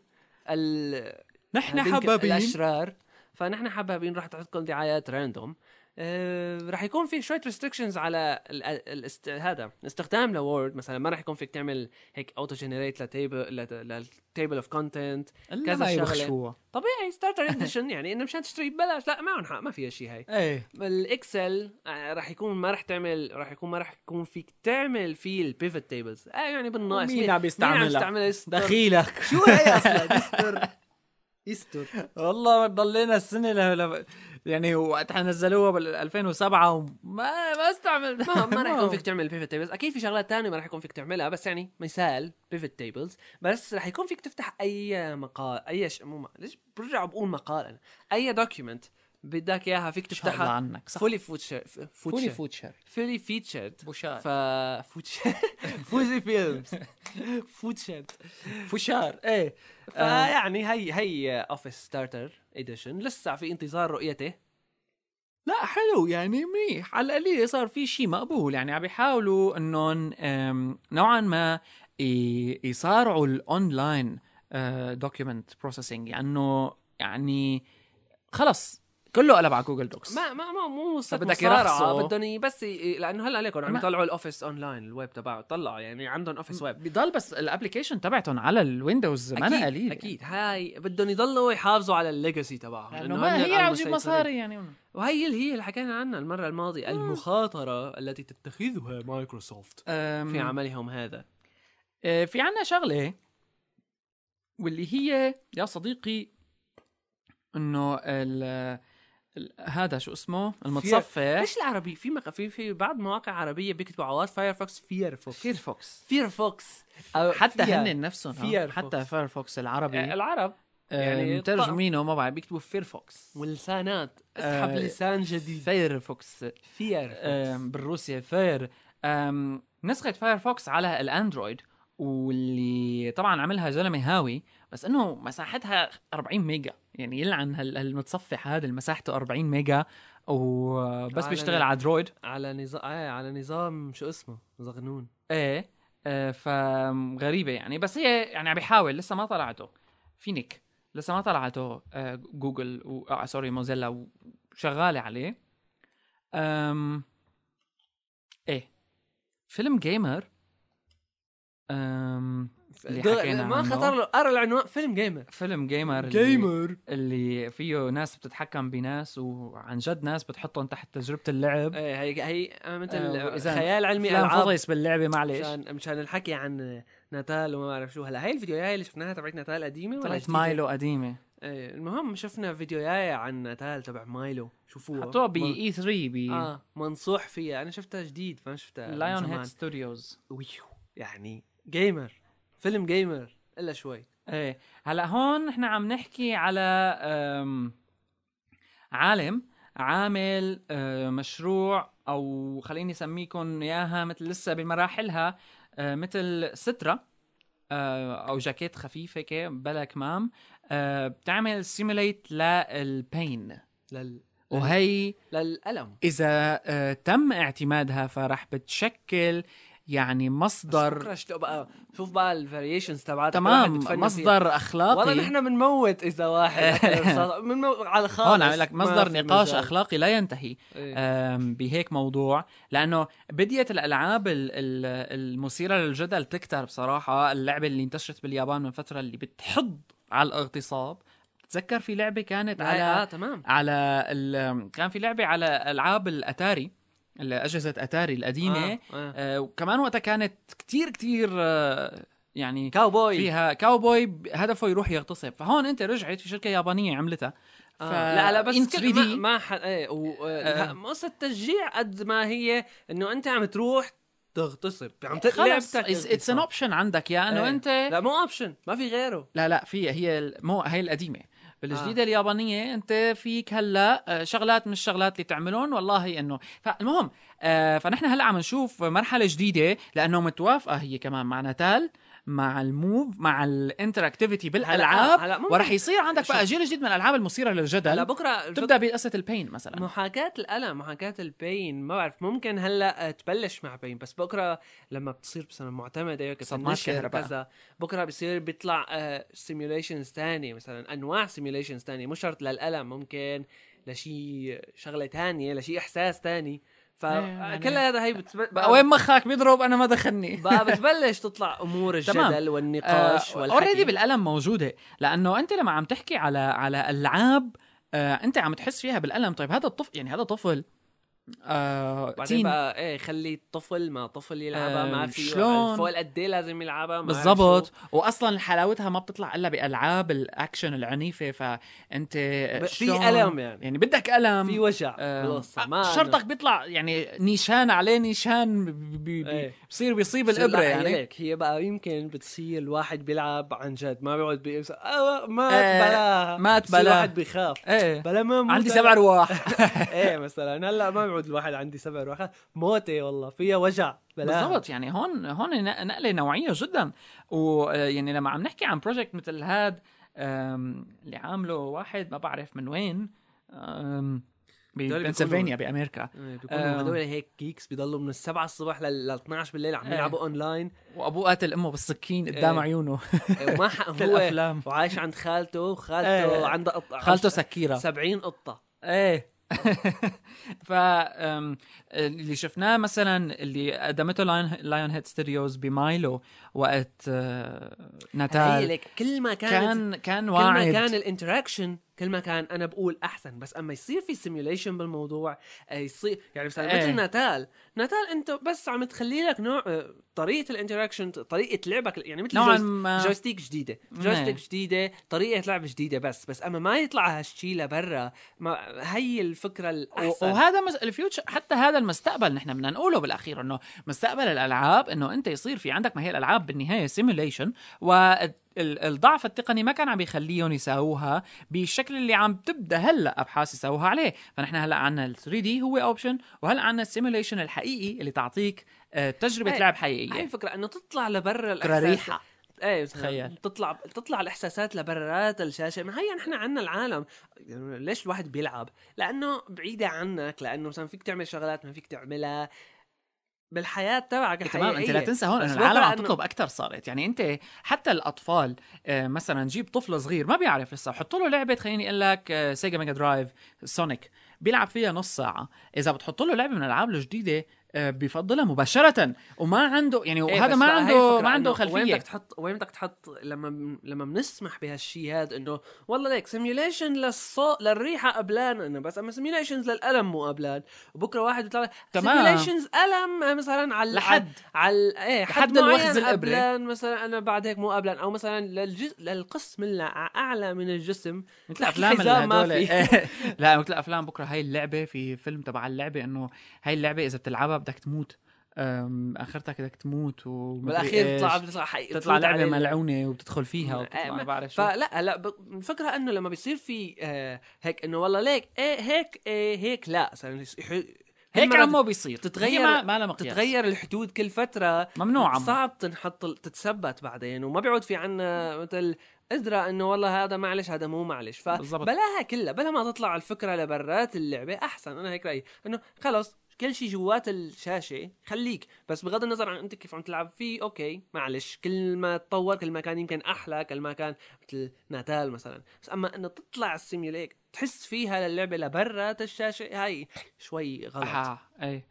Speaker 2: ال...
Speaker 1: نحن
Speaker 2: هذيك
Speaker 1: حبابين
Speaker 2: الاشرار فنحن حبابين راح تحط لكم دعايات راندوم آه، راح يكون في شويه ريستريكشنز على ال الاست... هذا استخدام لوورد مثلا ما راح يكون فيك تعمل هيك اوتو جنريت لتيبل للتيبل اوف كونتنت
Speaker 1: إلا
Speaker 2: كذا
Speaker 1: ما
Speaker 2: شغلة.
Speaker 1: يبخشوها
Speaker 2: طبيعي ستارتر اديشن يعني انه مشان تشتري ببلاش لا ما عن حق ما فيها شيء هاي
Speaker 1: ايه
Speaker 2: الاكسل آه، راح يكون ما راح تعمل راح يكون ما راح يكون فيك تعمل فيه البيفت تيبلز آه يعني بالناقص
Speaker 1: مين عم يستعملها؟
Speaker 2: يستعملها
Speaker 1: دخيلك
Speaker 2: شو هي اصلا يستر يستر
Speaker 1: والله ضلينا السنه ل... ل... يعني وقتها نزلوها بال 2007 وما ما استعمل
Speaker 2: ما ما راح يكون فيك تعمل بيفت تيبلز اكيد في شغلات تانية ما راح يكون فيك تعملها بس يعني مثال بيفت تيبلز بس راح يكون فيك تفتح اي مقال اي ش... مو م- ليش برجع بقول مقال انا اي دوكيومنت بدك اياها فيك
Speaker 1: ان شاء الله
Speaker 2: تفتحها
Speaker 1: عنك صح
Speaker 2: فولي فوتشر
Speaker 1: فولي
Speaker 2: فوتشر
Speaker 1: فوتشر
Speaker 2: فولي فيتشرد
Speaker 1: بوشار
Speaker 2: ف فوتشر فوزي فيلمز فوتشرد
Speaker 1: فوشار
Speaker 2: ايه
Speaker 1: um,
Speaker 2: فيعني هي هي اوفيس ستارتر اديشن لسه في انتظار رؤيته
Speaker 1: لا حلو يعني منيح على القليل صار في شيء مقبول يعني عم بيحاولوا انهم أم، نوعا ما ي- يصارعوا آه، الاونلاين دوكيومنت بروسيسنج لانه يعني خلص كله قلب على جوجل دوكس
Speaker 2: ما ما ما مو قصة
Speaker 1: بدك
Speaker 2: مصارعة
Speaker 1: يرخصوا.
Speaker 2: بدهم ي- بس ي- لانه هلا عليكم عم
Speaker 1: ما-
Speaker 2: يطلعوا الاوفيس اونلاين الويب تبعه طلع يعني عندهم اوفيس ويب
Speaker 1: بضل بس الابلكيشن تبعتهم على الويندوز ما أنا قليل يعني.
Speaker 2: اكيد هاي بدهم يضلوا يحافظوا على الليجاسي تبعهم
Speaker 1: يعني. لانه
Speaker 2: لأنه
Speaker 1: ما
Speaker 2: هن
Speaker 1: هي عم تجيب
Speaker 2: المسيطرين.
Speaker 1: مصاري آه. يعني
Speaker 2: وهي اللي هي اللي حكينا عنها المره الماضيه المخاطره التي تتخذها مايكروسوفت
Speaker 1: أم،
Speaker 2: في عملهم هذا
Speaker 1: آه، في عنا شغله واللي هي يا صديقي انه ال ال- هذا شو اسمه المتصفح
Speaker 2: ليش العربي في مق... في في بعض مواقع عربيه بيكتبوا عواد فايرفوكس فيرفوكس
Speaker 1: فيرفوكس
Speaker 2: فيرفوكس
Speaker 1: حتى هن نفسهم ها؟
Speaker 2: فيرفوكس.
Speaker 1: حتى فيرفوكس العربي
Speaker 2: العرب يعني
Speaker 1: يعني مترجمينه ما بعرف بيكتبوا فيرفوكس
Speaker 2: ولسانات اسحب
Speaker 1: آه،
Speaker 2: لسان جديد
Speaker 1: فيرفوكس
Speaker 2: فيرفوكس
Speaker 1: آم، بالروسيا فير آم، نسخة فايرفوكس على الاندرويد واللي طبعا عملها زلمه هاوي بس انه مساحتها 40 ميجا يعني يلعن هال- هالمتصفح هذا اللي مساحته 40 ميجا وبس
Speaker 2: على
Speaker 1: بيشتغل
Speaker 2: نت.
Speaker 1: على درويد
Speaker 2: على نظام آه على نظام شو اسمه زغنون
Speaker 1: ايه آه، فغريبة يعني بس هي يعني عم بيحاول لسه ما طلعته فينيك لسه ما طلعته آه، جوجل و... آه سوري موزيلا وشغالة عليه أم... ايه فيلم جيمر أم... اللي
Speaker 2: دغ-
Speaker 1: حكينا
Speaker 2: ما
Speaker 1: عنه.
Speaker 2: خطر له قرا العنوان فيلم جيمر
Speaker 1: فيلم جيمر اللي-
Speaker 2: جيمر
Speaker 1: اللي فيه ناس بتتحكم بناس وعن جد ناس بتحطهم تحت تجربة اللعب
Speaker 2: ايه هي هي
Speaker 1: آه،
Speaker 2: مثل
Speaker 1: وإذا
Speaker 2: خيال علمي
Speaker 1: فلان
Speaker 2: العاب
Speaker 1: فضيس باللعبة معلش
Speaker 2: مشان مشان الحكي عن ناتال وما بعرف شو هلا هاي الفيديوهاي اللي شفناها تبعت ناتال قديمه ولا
Speaker 1: طلعت
Speaker 2: جديدة؟
Speaker 1: مايلو قديمة
Speaker 2: ايه المهم شفنا فيديوهاي عن ناتال تبع مايلو شوفوها
Speaker 1: حطوها ب
Speaker 2: من-
Speaker 1: اي 3 ب
Speaker 2: اه منصوح فيها انا شفتها جديد فانا شفتها من
Speaker 1: لايون
Speaker 2: زمان.
Speaker 1: هيد ستوديوز
Speaker 2: ويو يعني جيمر فيلم جيمر الا شوي
Speaker 1: ايه هلا هون نحن عم نحكي على أم، عالم عامل أه، مشروع او خليني اسميكم اياها مثل لسه بمراحلها أه، مثل سترة أه، او جاكيت خفيفه كي بلا كمام أه، بتعمل سيميليت للبين
Speaker 2: إيه. لل...
Speaker 1: وهي
Speaker 2: للالم
Speaker 1: اذا أه، تم اعتمادها فرح بتشكل يعني مصدر
Speaker 2: شكرا شلو بقى شوف بقى الفاريشنز تبعتها
Speaker 1: تمام مصدر اخلاقي
Speaker 2: والله نحن بنموت اذا واحد أكل رصاصة. بنموت على خالص
Speaker 1: هون عم لك
Speaker 2: ما في
Speaker 1: آه، مصدر نقاش
Speaker 2: مجال.
Speaker 1: اخلاقي لا ينتهي
Speaker 2: إيه.
Speaker 1: أم، بهيك موضوع لانه بديت الالعاب ال- ال- المثيره للجدل تكتر بصراحه اللعبه اللي انتشرت باليابان من فتره اللي بتحض على الاغتصاب بتذكر في لعبه كانت
Speaker 2: اه
Speaker 1: على
Speaker 2: تمام
Speaker 1: على ال- كان في لعبه على العاب الاتاري اجهزه اتاري القديمه
Speaker 2: آه، آه.
Speaker 1: أه، وكمان وقتها كانت كتير كتير أه، يعني
Speaker 2: كاوبوي
Speaker 1: فيها كاوبوي ب- هدفه يروح يغتصب فهون انت رجعت في شركه يابانيه عملتها ف...
Speaker 2: آه. لا لا
Speaker 1: in
Speaker 2: بس كل
Speaker 1: 3D
Speaker 2: ما, ما ح... ايه و... آه.
Speaker 1: آه.
Speaker 2: قصة التشجيع قد ما هي انه انت عم تروح تغتصب عم تقلب
Speaker 1: خلص اتس ان اوبشن عندك يا انه
Speaker 2: إيه.
Speaker 1: انت
Speaker 2: لا مو اوبشن ما في غيره
Speaker 1: لا لا في هي ال- مو هي القديمه بالجديده آه. اليابانيه انت فيك هلا آه، شغلات من الشغلات اللي تعملون والله انه فالمهم آه، فنحن هلا عم نشوف مرحله جديده لانه متوافقه هي كمان مع نتال مع الموف مع الانتراكتيفيتي بالالعاب
Speaker 2: هلا ممكن-
Speaker 1: ورح يصير عندك بقى
Speaker 2: آه، شوف.
Speaker 1: جيل جديد من الالعاب المثيره
Speaker 2: هلا
Speaker 1: للجدل
Speaker 2: بكره
Speaker 1: تبدا بقصه البين مثلا
Speaker 2: محاكاة الألم محاكاة البين ما بعرف ممكن هلا آه، تبلش مع بين بس بكره لما بتصير مثلا معتمدة هيك
Speaker 1: صدمات
Speaker 2: تنشر
Speaker 1: كهرباء.
Speaker 2: كذا بكره بصير بيطلع آه، سيميوليشنز ثانية مثلا أنواع سيميوليشنز ثانية مو شرط للألم ممكن لشي شغلة ثانية لشي إحساس ثاني
Speaker 1: إيه،
Speaker 2: فكل هذا هي بتب...
Speaker 1: بقى وين مخك بيضرب انا ما دخلني آه،
Speaker 2: بقى بتبلش تطلع امور
Speaker 1: تمام.
Speaker 2: الجدل والنقاش والحكي
Speaker 1: اوريدي بالالم موجوده لانه انت لما عم تحكي على على العاب آه، انت عم تحس فيها بالالم طيب هذا الطفل يعني هذا طفل آه
Speaker 2: بعدين
Speaker 1: تين
Speaker 2: بقى ايه خلي طفل ما طفل يلعبها
Speaker 1: آه،
Speaker 2: ما في
Speaker 1: شلون؟
Speaker 2: فوق قد ايه لازم يلعبها ما عارف
Speaker 1: بالضبط
Speaker 2: شو.
Speaker 1: واصلا حلاوتها ما بتطلع الا بالعاب الاكشن العنيفه فانت
Speaker 2: ب- في
Speaker 1: شلون-
Speaker 2: الم يعني
Speaker 1: يعني بدك الم
Speaker 2: في وجع
Speaker 1: آه،
Speaker 2: بالقصه ما
Speaker 1: آه، شرطك بيطلع يعني نيشان عليه نيشان بي- بي- بي-
Speaker 2: إيه.
Speaker 1: بصير بيصيب الابره يعني
Speaker 2: لك هي بقى يمكن بتصير الواحد بيلعب عن جد ما بيقعد بيقول آه مات
Speaker 1: آه،
Speaker 2: بلاها
Speaker 1: مات
Speaker 2: بصير
Speaker 1: بلاها.
Speaker 2: الواحد بيخاف
Speaker 1: ايه
Speaker 2: بلا ما موت
Speaker 1: عندي
Speaker 2: أنا.
Speaker 1: سبع ارواح
Speaker 2: ايه مثلا هلا ما بيعود الواحد عندي سبع روحات موتي والله فيها وجع بلاها
Speaker 1: بالضبط يعني هون هون ن- نقله نوعيه جدا ويعني آه، يعني لما عم نحكي عن بروجكت مثل هاد أم، اللي عامله واحد ما بعرف من وين أم،
Speaker 2: بيكونوا-
Speaker 1: ببنسلفانيا بامريكا
Speaker 2: إيه،
Speaker 1: آه.
Speaker 2: بيكونوا هدول هيك جيكس بيضلوا من السبعة الصبح لل 12 بالليل عم
Speaker 1: إيه.
Speaker 2: يلعبوا اونلاين
Speaker 1: وابوه قاتل امه بالسكين قدام
Speaker 2: إيه.
Speaker 1: عيونه
Speaker 2: إيه، وما حق
Speaker 1: مثل
Speaker 2: هو
Speaker 1: الافلام
Speaker 2: وعايش عند خالته
Speaker 1: إيه.
Speaker 2: وخالته عندها قطة
Speaker 1: خالته سكيره
Speaker 2: 70 قطة
Speaker 1: ايه ف أم، اللي شفناه مثلا اللي قدمته لايون لايون هيد ستوديوز بمايلو وقت آه،
Speaker 2: هي
Speaker 1: ناتال
Speaker 2: لك كل ما كانت
Speaker 1: كان كان
Speaker 2: كل ما
Speaker 1: واعد
Speaker 2: كان الانتراكشن كل ما كان انا بقول احسن بس اما يصير في سيميوليشن بالموضوع آه، يصير يعني مثلا
Speaker 1: إيه.
Speaker 2: مثل ناتال ناتال انت بس عم تخلي لك نوع آه، طريقه الانتراكشن طريقه لعبك يعني مثل
Speaker 1: نوعا
Speaker 2: جويس-
Speaker 1: ما.
Speaker 2: جويستيك جديده
Speaker 1: إيه.
Speaker 2: جويستيك جديده طريقه لعب جديده بس بس اما ما يطلع هالشي لبرا ما هي الفكره
Speaker 1: و-
Speaker 2: الاحسن
Speaker 1: وهذا مس... الفيوتشر حتى هذا المستقبل نحن بدنا نقوله بالاخير انه مستقبل الالعاب انه انت يصير في عندك ما هي الالعاب بالنهايه سيميوليشن والضعف التقني ما كان عم يخليهم يساووها بالشكل اللي عم تبدا هلا ابحاث يساووها عليه فنحن هلا عندنا ال 3 دي هو اوبشن وهلا عندنا السيميوليشن الحقيقي اللي تعطيك آه، تجربه
Speaker 2: إيه.
Speaker 1: لعب
Speaker 2: هاي
Speaker 1: حقيقيه
Speaker 2: الفكره انه تطلع لبرا الإحساس-
Speaker 1: كراريحه
Speaker 2: ايه
Speaker 1: تخيل.
Speaker 2: تخيل تطلع تطلع الاحساسات لبرات الشاشه ما هي نحن عنا العالم يعني ليش الواحد بيلعب لانه بعيده عنك لانه مثلا فيك تعمل شغلات ما فيك تعملها بالحياه تبعك الحقيقيه
Speaker 1: إيه، تمام انت لا تنسى هون
Speaker 2: بس
Speaker 1: انه العالم عم
Speaker 2: بقى إنه-
Speaker 1: تطلب اكثر صارت يعني انت حتى الاطفال آه، مثلا جيب طفل صغير ما بيعرف لسه حط له لعبه خليني اقول لك آه، سيجا ميجا درايف سونيك بيلعب فيها نص ساعه اذا بتحط له لعبه من الالعاب الجديده آه، بيفضلها مباشره وما عنده يعني
Speaker 2: إيه،
Speaker 1: وهذا
Speaker 2: بس
Speaker 1: ما
Speaker 2: بقى هي
Speaker 1: عنده
Speaker 2: الفكرة
Speaker 1: ما عنده
Speaker 2: إنه وين
Speaker 1: خلفيه
Speaker 2: بدك تحط وين بدك تحط لما بن- لما بنسمح بهالشيء هذا انه والله ليك سيميوليشن للصوت للريحه قبلان انه بس اما سيميوليشنز للالم مو قبلان وبكره واحد بيطلع
Speaker 1: تمام.
Speaker 2: سيميوليشنز الم مثلا على
Speaker 1: لحد
Speaker 2: على ايه
Speaker 1: لحد
Speaker 2: حد
Speaker 1: الوخز
Speaker 2: معين
Speaker 1: الإبرة.
Speaker 2: قبلان مثلا انا بعد هيك مو قبلان او مثلا للجزء للقسم الاعلى من الجسم
Speaker 1: مثل افلام
Speaker 2: الحزام ما
Speaker 1: هدول-
Speaker 2: في.
Speaker 1: إيه. لا مثل افلام بكره هاي اللعبه في فيلم تبع اللعبه انه هاي اللعبه اذا بتلعبها بدك تموت أم، اخرتك بدك تموت ومدري
Speaker 2: بالاخير
Speaker 1: إيش.
Speaker 2: بتطلع بتطلع حقيقة
Speaker 1: تطلع لعبه
Speaker 2: عليه.
Speaker 1: ملعونه وبتدخل فيها وبتطلع
Speaker 2: إيه،
Speaker 1: ما بعرف شو
Speaker 2: فلا هلا ب- الفكره انه لما بيصير في آه هيك انه والله ليك ايه هيك ايه هيك لا مثلا يص- يح- كل
Speaker 1: هيك
Speaker 2: مرة
Speaker 1: عمو بيصير
Speaker 2: تتغير-
Speaker 1: هي ما, ما لها مقياس
Speaker 2: تتغير الحدود كل فتره
Speaker 1: ممنوع عمو
Speaker 2: صعب تنحط تتثبت بعدين وما بيعود في عنا مثل قدرة انه والله هذا معلش هذا مو معلش
Speaker 1: بالضبط.
Speaker 2: فبلاها كلها بلا ما تطلع الفكرة لبرات اللعبة احسن انا هيك رأيي انه خلص كل شيء جوات الشاشة خليك بس بغض النظر عن انت كيف عم تلعب فيه اوكي معلش كل ما تطور كل ما كان يمكن احلى كل ما كان مثل ناتال مثلا بس اما انه تطلع السيميوليك تحس فيها للعبة لبرات الشاشة هاي شوي غلط
Speaker 1: آه، اي أم،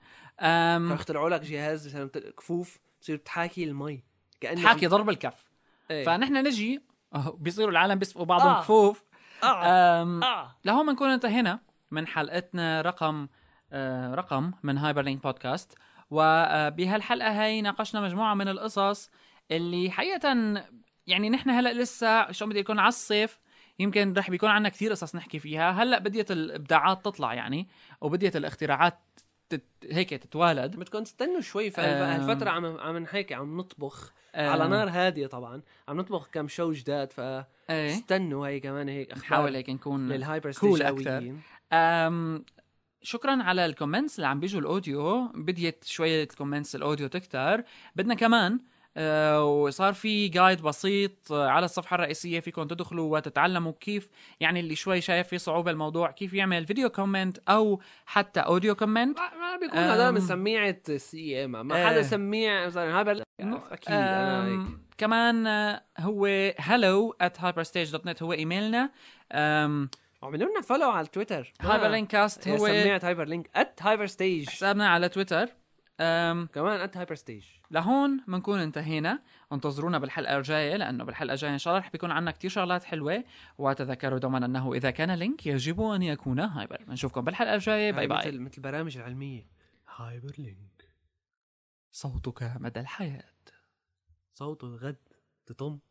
Speaker 2: كانوا اخترعوا لك جهاز مثلا بت- كفوف بتصير بتحاكي المي كانه
Speaker 1: حاكي ضرب الكف
Speaker 2: ايه.
Speaker 1: فنحن نجي أه، بيصيروا العالم بيسبقوا بعضهم
Speaker 2: آه.
Speaker 1: كفوف
Speaker 2: اه
Speaker 1: أم،
Speaker 2: اه
Speaker 1: لهون بنكون انتهينا من حلقتنا رقم آه، رقم من هايبر لينك بودكاست وبهالحلقه هاي ناقشنا مجموعه من القصص اللي حقيقه يعني نحن هلا لسه شو بدي يكون على الصيف يمكن رح بيكون عنا كثير قصص نحكي فيها هلا بديت الابداعات تطلع يعني وبديت الاختراعات تت... هيك تتوالد
Speaker 2: بدكم تستنوا شوي
Speaker 1: آه.
Speaker 2: فهالفترة عم عم نحكي عم نطبخ
Speaker 1: آه،
Speaker 2: على نار هادية طبعا عم نطبخ كم شو جداد
Speaker 1: ايه
Speaker 2: فاستنوا هي كمان هيك
Speaker 1: نحاول
Speaker 2: اخبار
Speaker 1: هيك نكون
Speaker 2: للهايبر
Speaker 1: cool
Speaker 2: ستيشاويين
Speaker 1: أم شكرا على الكومنتس اللي عم بيجوا الاوديو بديت شويه كومنتس الاوديو تكتر بدنا كمان آه، وصار في جايد بسيط آه، على الصفحه الرئيسيه فيكم تدخلوا وتتعلموا كيف يعني اللي شوي شايف في صعوبه الموضوع كيف يعمل فيديو كومنت او حتى اوديو كومنت
Speaker 2: ما ما بيكون
Speaker 1: آم.
Speaker 2: هذا من سميعة سي ام ما
Speaker 1: آه.
Speaker 2: حدا سميع مثلا هايبر اكيد انا
Speaker 1: أم،
Speaker 2: هيك
Speaker 1: كمان آه، هو hello at hyperstage.net هو ايميلنا
Speaker 2: عملوا لنا فولو على آه. تويتر
Speaker 1: هايبر لينك كاست
Speaker 2: هو
Speaker 1: هو
Speaker 2: سميعة هايبر لينك ات هايبر ستيج
Speaker 1: حسابنا على تويتر أم
Speaker 2: كمان انت هايبر ستيج
Speaker 1: لهون بنكون انتهينا انتظرونا بالحلقه الجايه لانه بالحلقه الجايه ان شاء الله رح بيكون عنا كتير شغلات حلوه وتذكروا دوما انه اذا كان لينك يجب ان يكون هايبر بنشوفكم بالحلقه الجايه باي باي
Speaker 2: يعني مثل مثل البرامج العلميه هايبر لينك
Speaker 1: صوتك مدى الحياه
Speaker 2: صوته الغد تطم